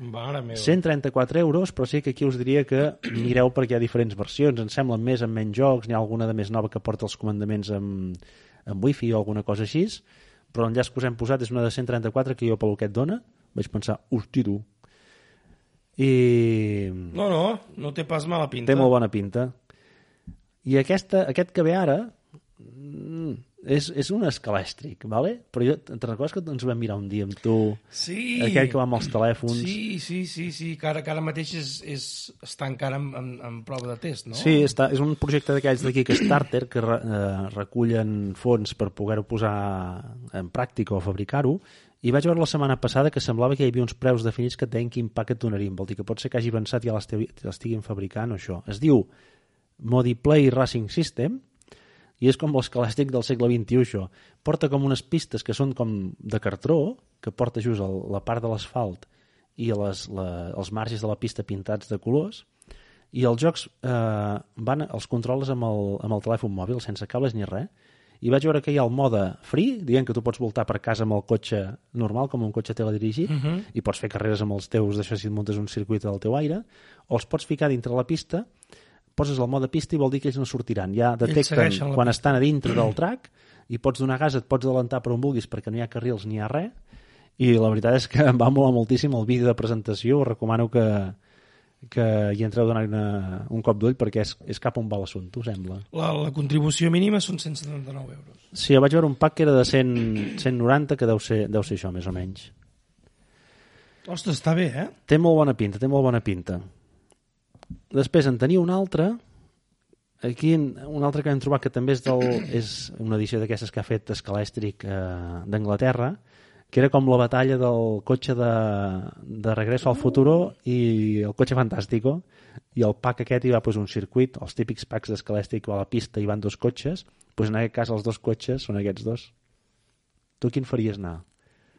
Speaker 2: Mare meva.
Speaker 1: 134 euros, però sí que aquí us diria que mireu perquè hi ha diferents versions, en semblen més amb menys jocs, n'hi ha alguna de més nova que porta els comandaments amb, amb wifi o alguna cosa així, però l'enllaç que us hem posat és una de 134 que jo pel que et dona, vaig pensar, hosti tu, i
Speaker 2: No, no, no té pas mala pinta.
Speaker 1: té molt bona pinta. I aquesta, aquest que ve ara mm, és, és un escalèstric, vale? però jo, te'n recordes que ens vam mirar un dia amb tu,
Speaker 2: Sí.
Speaker 1: aquell que va amb els telèfons?
Speaker 2: Sí, sí, sí, sí, que ara, que ara mateix és, és, està encara en, en, en prova de test, no?
Speaker 1: Sí, està, és un projecte d'aquells de Kickstarter que re, eh, recullen fons per poder-ho posar en pràctica o fabricar-ho i vaig veure la setmana passada que semblava que hi havia uns preus definits que et deien quin pack et donarien. Vol dir que pot ser que hagi avançat i ja l'esti- l'estiguin fabricant o això. Es diu Modiplay Racing System i és com l'escalàstic del segle XXI, això. Porta com unes pistes que són com de cartró, que porta just el, la part de l'asfalt i les, la, els marges de la pista pintats de colors, i els jocs eh, van, els controles amb el, amb el telèfon mòbil, sense cables ni res, i vaig veure que hi ha el mode free, dient que tu pots voltar per casa amb el cotxe normal, com un cotxe teledirigit, uh -huh. i pots fer carreres amb els teus, d'això si et muntes un circuit del teu aire, o els pots ficar dintre la pista, poses el mode pista i vol dir que ells no sortiran. Ja
Speaker 2: segueixen
Speaker 1: detecten
Speaker 2: la
Speaker 1: quan estan a dintre del track i pots donar gas, et pots adelantar per on vulguis perquè no hi ha carrils ni hi ha res. I la veritat és que em va molar moltíssim el vídeo de presentació. Us recomano que, que hi entreu a donar una, un cop d'ull perquè és, és cap on va l'assumpte, us sembla.
Speaker 2: La, la contribució mínima són 179 euros.
Speaker 1: Sí, vaig veure un pack que era de 100, 190, que deu ser, deu ser això, més o menys.
Speaker 2: Ostres, està bé, eh?
Speaker 1: Té molt bona pinta, té molt bona pinta. Després en tenia una altra, aquí en- una altra que hem trobat que també és, del, és una edició d'aquestes que ha fet Escalèstric eh, d'Anglaterra, que era com la batalla del cotxe de, de Regreso al Futuro i el cotxe Fantàstico, i el pack aquest hi va posar un circuit, els típics packs d'Escalèstric va a la pista i van dos cotxes, doncs en aquest cas els dos cotxes són aquests dos. Tu quin faries anar?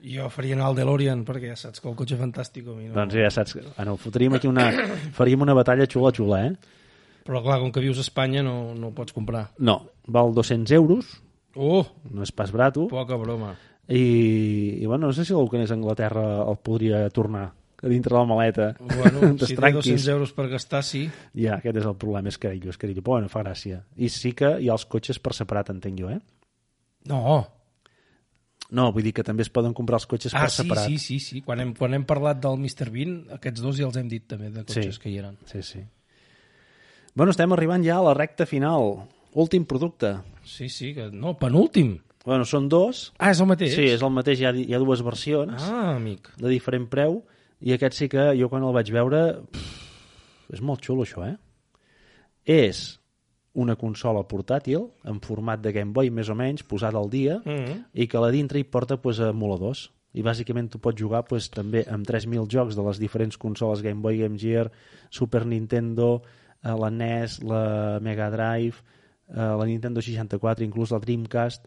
Speaker 2: Jo faria anar al DeLorean, perquè ja saps que el cotxe fantàstic a mi no...
Speaker 1: Doncs ja saps, que- bueno, fotríem aquí una, faríem una batalla xula, xula, eh?
Speaker 2: Però clar, com que vius a Espanya no, no ho pots comprar.
Speaker 1: No, val 200 euros,
Speaker 2: Oh,
Speaker 1: no és pas barato,
Speaker 2: poca broma.
Speaker 1: i, i bueno, no sé si algú que anés a Anglaterra el podria tornar a dintre de la maleta.
Speaker 2: Bueno,
Speaker 1: Te'ls
Speaker 2: si té e-
Speaker 1: tranquis.
Speaker 2: 200 euros per gastar, sí.
Speaker 1: Ja, aquest és el problema, és carillo, és carillo. Però bueno, fa gràcia. I sí que hi ha els cotxes per separat, entenc jo, eh?
Speaker 2: No,
Speaker 1: No, vull dir que també es poden comprar els cotxes
Speaker 2: Ah,
Speaker 1: per
Speaker 2: sí,
Speaker 1: separat.
Speaker 2: sí, sí, sí. Quan hem, quan hem parlat del Mr. Bean, aquests dos ja els hem dit també de cotxes
Speaker 1: Sí.
Speaker 2: que hi eren.
Speaker 1: sí, sí. Bueno, estem arribant ja a la recta final. Últim producte.
Speaker 2: Sí, sí, que... no, penúltim.
Speaker 1: Bueno, són dos.
Speaker 2: Ah, és el mateix?
Speaker 1: Sí, és el mateix, hi ha, hi ha dues versions.
Speaker 2: Ah, amic.
Speaker 1: de diferent preu i aquest sí que jo quan el vaig veure pff, és molt xulo això, eh? És una consola portàtil en format de Game Boy, més o menys, posada al dia, mm -hmm. i que a la dintre hi porta pues, emuladors. I bàsicament tu pots jugar pues, també amb 3.000 jocs de les diferents consoles Game Boy, Game Gear, Super Nintendo, eh, la NES, la Mega Drive, eh, la Nintendo 64, inclús la Dreamcast,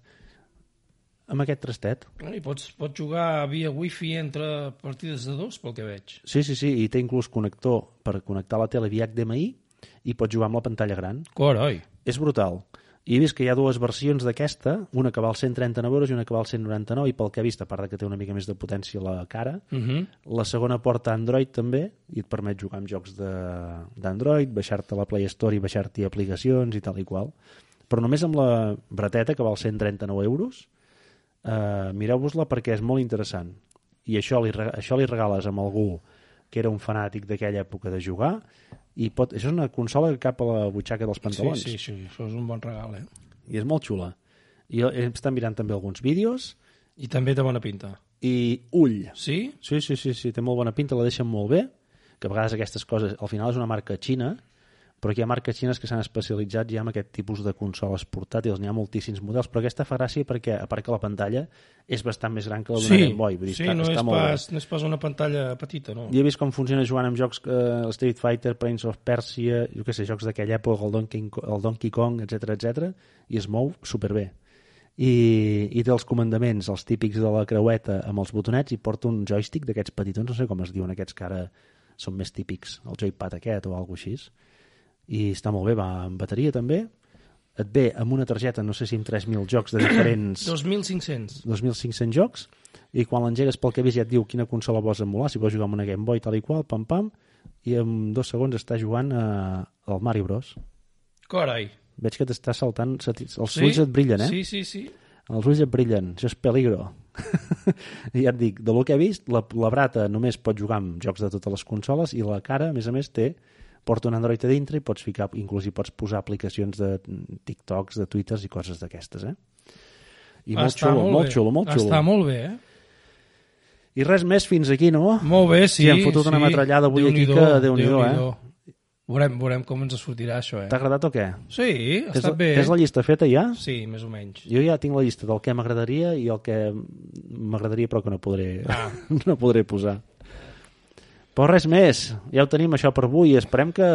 Speaker 1: amb aquest trastet.
Speaker 2: I pots, pots jugar via wifi entre partides de dos, pel que veig.
Speaker 1: Sí, sí, sí, i té inclús connector per connectar la tele via HDMI i pots jugar amb la pantalla gran.
Speaker 2: Coroi.
Speaker 1: És brutal. I he vist que hi ha dues versions d'aquesta, una que val 139 euros i una que val 199, i pel que he vist, a part de que té una mica més de potència a la cara,
Speaker 2: Uh -huh.
Speaker 1: la segona porta Android també, i et permet jugar amb jocs de- d'Android, baixar-te la Play Store i baixar-t'hi aplicacions i tal i qual. Però només amb la breteta, que val 139 euros, eh, mireu-vos-la perquè és molt interessant. I això li, re- això li regales amb algú que era un fanàtic d'aquella època de jugar, i pot, això és una consola que cap a la butxaca dels
Speaker 2: Sí,
Speaker 1: pantalons
Speaker 2: sí, sí, això és un bon regal, eh?
Speaker 1: i és molt xula. I estan mirant també alguns vídeos
Speaker 2: I també té bona pinta.
Speaker 1: i ull.
Speaker 2: Sí?
Speaker 1: Sí, sí, sí, sí, té molt bona pinta, la deixen molt bé, que a vegades aquestes coses, al final és una marca xina, però aquí hi ha marques xines que s'han especialitzat ja en aquest tipus de consoles portàtils, n'hi ha moltíssims models, però aquesta fa gràcia perquè, a part que la pantalla és bastant més gran que la d'una
Speaker 2: sí,
Speaker 1: Game Boy, vull dir,
Speaker 2: sí
Speaker 1: està,
Speaker 2: no,
Speaker 1: està
Speaker 2: és
Speaker 1: molt bé.
Speaker 2: pas, no és pas una pantalla petita, no?
Speaker 1: I he vist com funciona jugant amb jocs eh, Street Fighter, Prince of Persia, jo què sé, jocs d'aquella època, el Donkey, el Donkey Kong, etc etc i es mou superbé. I, I té els comandaments, els típics de la creueta, amb els botonets, i porta un joystick d'aquests petitons, no sé com es diuen aquests que ara són més típics, el joypad aquest o alguna així. I està molt bé, va amb bateria també. Et ve amb una targeta, no sé si amb 3.000 jocs de diferents...
Speaker 2: 2.500.
Speaker 1: 2.500 jocs i quan l'engegues pel que he vist ja et diu quina consola vols emular, si vols jugar amb una Game Boy tal i qual, pam pam, i en dos segons està jugant eh, al Mario Bros.
Speaker 2: Carai.
Speaker 1: Veig que t'està saltant, se t'hi- els ulls et brillen, eh?
Speaker 2: Sí, sí, sí.
Speaker 1: Els ulls et brillen, això és peligro. I ja et dic, de lo que he vist, la, la brata només pot jugar amb jocs de totes les consoles i la cara, a més a més, té porta un Android a dintre i pots ficar, inclús hi pots posar aplicacions de TikToks, de Twitters i coses d'aquestes, eh? I molt
Speaker 2: Està
Speaker 1: xulo, molt,
Speaker 2: bé.
Speaker 1: xulo, molt xulo.
Speaker 2: Està molt bé, eh?
Speaker 1: I res més fins aquí, no?
Speaker 2: Molt bé,
Speaker 1: Sí,
Speaker 2: sí.
Speaker 1: han fotut una metrallada avui aquí
Speaker 2: Déu-n'hi-do,
Speaker 1: que Déu-n'hi-do, eh?
Speaker 2: Déu-n'hi-do. Veurem, veurem com ens sortirà això, eh?
Speaker 1: T'ha agradat o què?
Speaker 2: Sí, ha
Speaker 1: Tens la,
Speaker 2: estat bé. eh?
Speaker 1: tens la llista feta ja?
Speaker 2: Sí, més o menys.
Speaker 1: Jo ja tinc la llista del que m'agradaria i el que m'agradaria però que no podré, ah. no podré posar. Però res més, ja ho tenim això per avui i esperem que,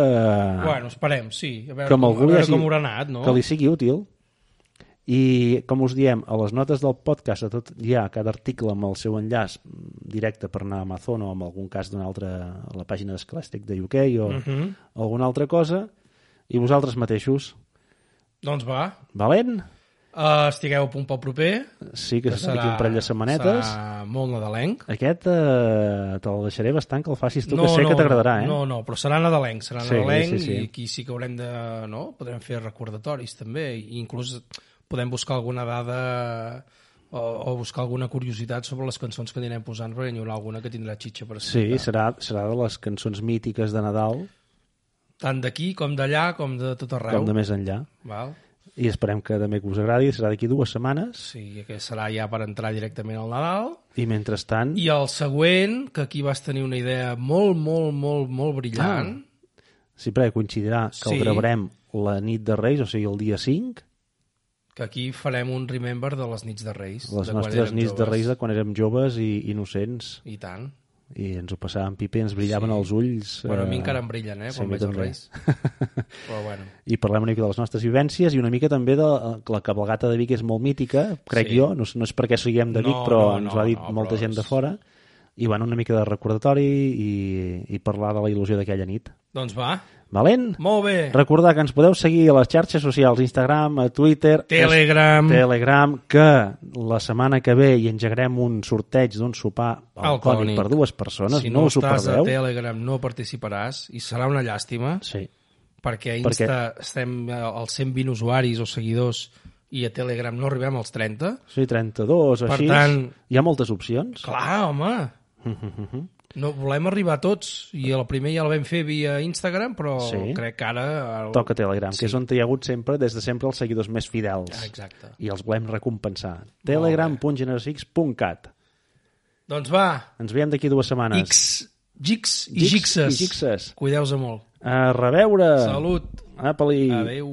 Speaker 2: Bueno, esperem, sí. A veure,
Speaker 1: Ah. Com
Speaker 2: com,
Speaker 1: algú
Speaker 2: a veure
Speaker 1: hagi-
Speaker 2: com haurà anat, no?
Speaker 1: que li sigui útil. I com us diem, a les notes del podcast a tot, hi ha cada article amb el seu enllaç directe per anar a Amazon o en algun cas d'una altra a la pàgina d'Esclàstic de UK o uh
Speaker 2: Mhm.
Speaker 1: -huh. alguna altra cosa i vosaltres mateixos,
Speaker 2: Doncs va.
Speaker 1: valent?
Speaker 2: Uh, estigueu a punt pel proper.
Speaker 1: Sí que, que serà, aquí un parell de setmanetes. Serà...
Speaker 2: Serà molt nadalenc.
Speaker 1: Aquest eh, te'l deixaré bastant que el facis tu, no, que sé no, que t'agradarà, eh?
Speaker 2: No, no, però serà nadalenc, serà
Speaker 1: Sí,
Speaker 2: nadalenc
Speaker 1: sí, sí.
Speaker 2: i aquí sí que haurem de... No? Podrem fer recordatoris també i inclús podem buscar alguna dada o, o buscar alguna curiositat sobre les cançons que anirem posant perquè n'hi haurà alguna que tindrà xitxa per
Speaker 1: Sí,
Speaker 2: escoltar.
Speaker 1: serà, serà de les cançons mítiques de Nadal,
Speaker 2: Tant d'aquí com d'allà com de tot arreu.
Speaker 1: com de més enllà.
Speaker 2: Val?
Speaker 1: I esperem que també que us agradi, serà d'aquí dues setmanes.
Speaker 2: Sí, que serà ja per entrar directament al Nadal.
Speaker 1: I mentrestant, I...
Speaker 2: I el següent, que aquí vas tenir una idea molt, molt, molt, molt
Speaker 1: Ah.
Speaker 2: brillant.
Speaker 1: sí, perquè coincidirà que sí.
Speaker 2: Sí.
Speaker 1: el gravarem la nit de Reis, o sigui, el dia 5,
Speaker 2: que aquí farem un remember de les nits de Reis.
Speaker 1: les
Speaker 2: de quan
Speaker 1: nostres
Speaker 2: érem
Speaker 1: nits de
Speaker 2: joves.
Speaker 1: Reis de quan érem joves i innocents.
Speaker 2: I tant.
Speaker 1: I ens ho passàvem pipa i ens brillaven sí. els ulls.
Speaker 2: Bueno, a mi
Speaker 1: eh,
Speaker 2: encara em brillen, eh,
Speaker 1: sí,
Speaker 2: quan
Speaker 1: a mi
Speaker 2: veig els
Speaker 1: també.
Speaker 2: Reis. Però bueno,
Speaker 1: i parlem una mica de les nostres vivències i una mica també de eh, la cabalgata de Vic és molt mítica, crec sí.
Speaker 2: Sí.
Speaker 1: jo, no, és- no és perquè siguem de
Speaker 2: No,
Speaker 1: Vic, però
Speaker 2: no,
Speaker 1: ens
Speaker 2: no,
Speaker 1: ho ha dit
Speaker 2: no,
Speaker 1: molta
Speaker 2: però
Speaker 1: gent de
Speaker 2: és-
Speaker 1: fora, i bueno, una mica de recordatori i, i parlar de la il·lusió d'aquella nit.
Speaker 2: doncs va.
Speaker 1: Valent?
Speaker 2: Molt bé.
Speaker 1: Recordar que ens podeu seguir a les xarxes socials, Instagram, a Twitter,
Speaker 2: Telegram.
Speaker 1: Telegram, que la setmana que ve hi engegarem un sorteig d'un sopar alcohòlic
Speaker 2: Alcohòlic.
Speaker 1: per dues persones,
Speaker 2: si
Speaker 1: no,
Speaker 2: no
Speaker 1: us ho
Speaker 2: estàs a
Speaker 1: perdeu.
Speaker 2: Telegram no participaràs i serà una llàstima
Speaker 1: Sí.
Speaker 2: perquè a
Speaker 1: Per què?
Speaker 2: Insta estem eh, als 120 usuaris o seguidors i a Telegram no arribem als 30.
Speaker 1: sí, 32 o
Speaker 2: Per
Speaker 1: així.
Speaker 2: tant-
Speaker 1: Hi ha moltes opcions.
Speaker 2: Clar, home. No, volem arribar a tots i la primera ja la vam fer via Instagram però
Speaker 1: Sí.
Speaker 2: crec que ara el...
Speaker 1: toca Telegram, sí. que és on hi ha hagut sempre, des de sempre, els seguidors més fidels.
Speaker 2: Exacte.
Speaker 1: I els volem recompensar. telegram.generosix.cat
Speaker 2: Doncs va,
Speaker 1: Ens veiem d'aquí dues setmanes.
Speaker 2: X, Gics i
Speaker 1: Gics i
Speaker 2: Gixes.
Speaker 1: Gixes.
Speaker 2: Cuideu-se molt.
Speaker 1: A reveure!
Speaker 2: Salut.
Speaker 1: Apa-li!
Speaker 2: Adeu.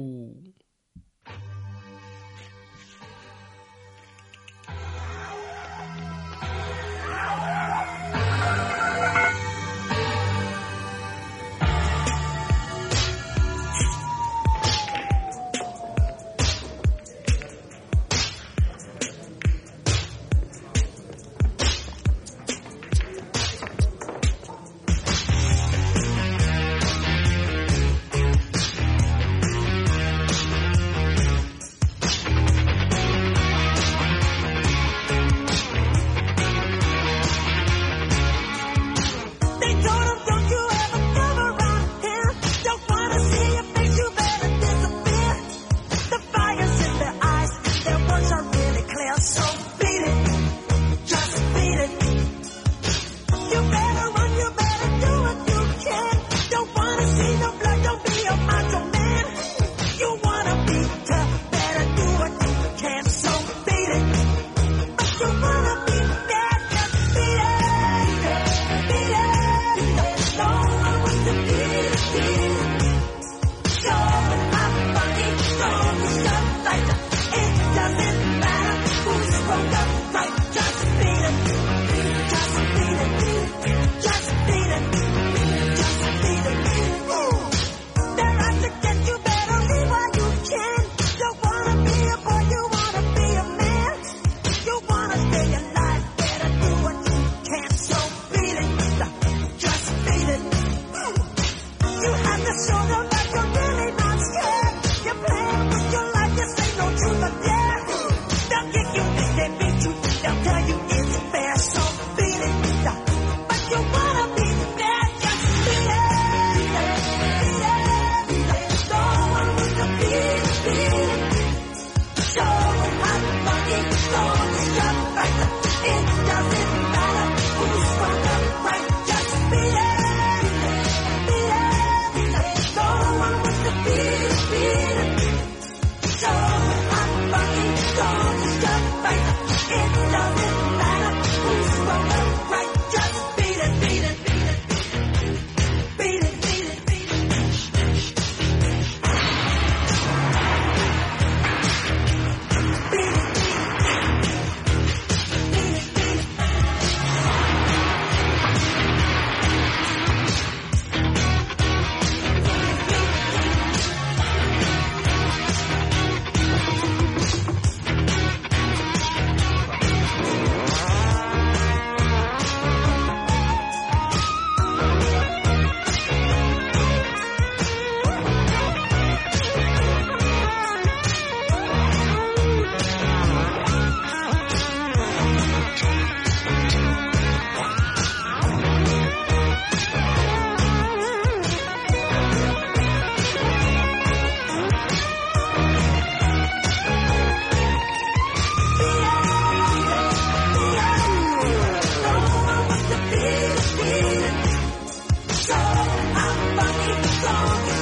Speaker 3: don't wanna see no blood, don't be a macho man. You wanna be tough, better do what you can, so beat it. But you wanna be bad, just beat it. Beat it. Don't know what to beat it, beat it. Show with my funny, show me some fight. It doesn't matter who's wrong or right, just beat it. Just beat it. Just beat it. Just beat it. Ooh. They're out to get you, better leave while you can. Don't wanna be a boy, you wanna be a man. You wanna stay alive, better do what you can. So beat it. Just beat it. Ooh. You have to show them that you're really not scared. You're playing with your life, you say no truth or dare. They'll kick you if they beat you. They'll tell you it's fair, so beat it. But you wanna be fair, just beat it. Beat it, beat it, beat it. No one wants to beat it, beat it. Show them how to fucking go to your fight. It doesn't matter who's from the right, just beat it. Beat it, beat it. No one wants to beat it, beat it. Show them how to fucking go to your fight. It doesn't matter who's from the right, just beat it, beat it, beat it. Beat it, beat it, beat it. Beat it, beat it. So I'm fucking strong.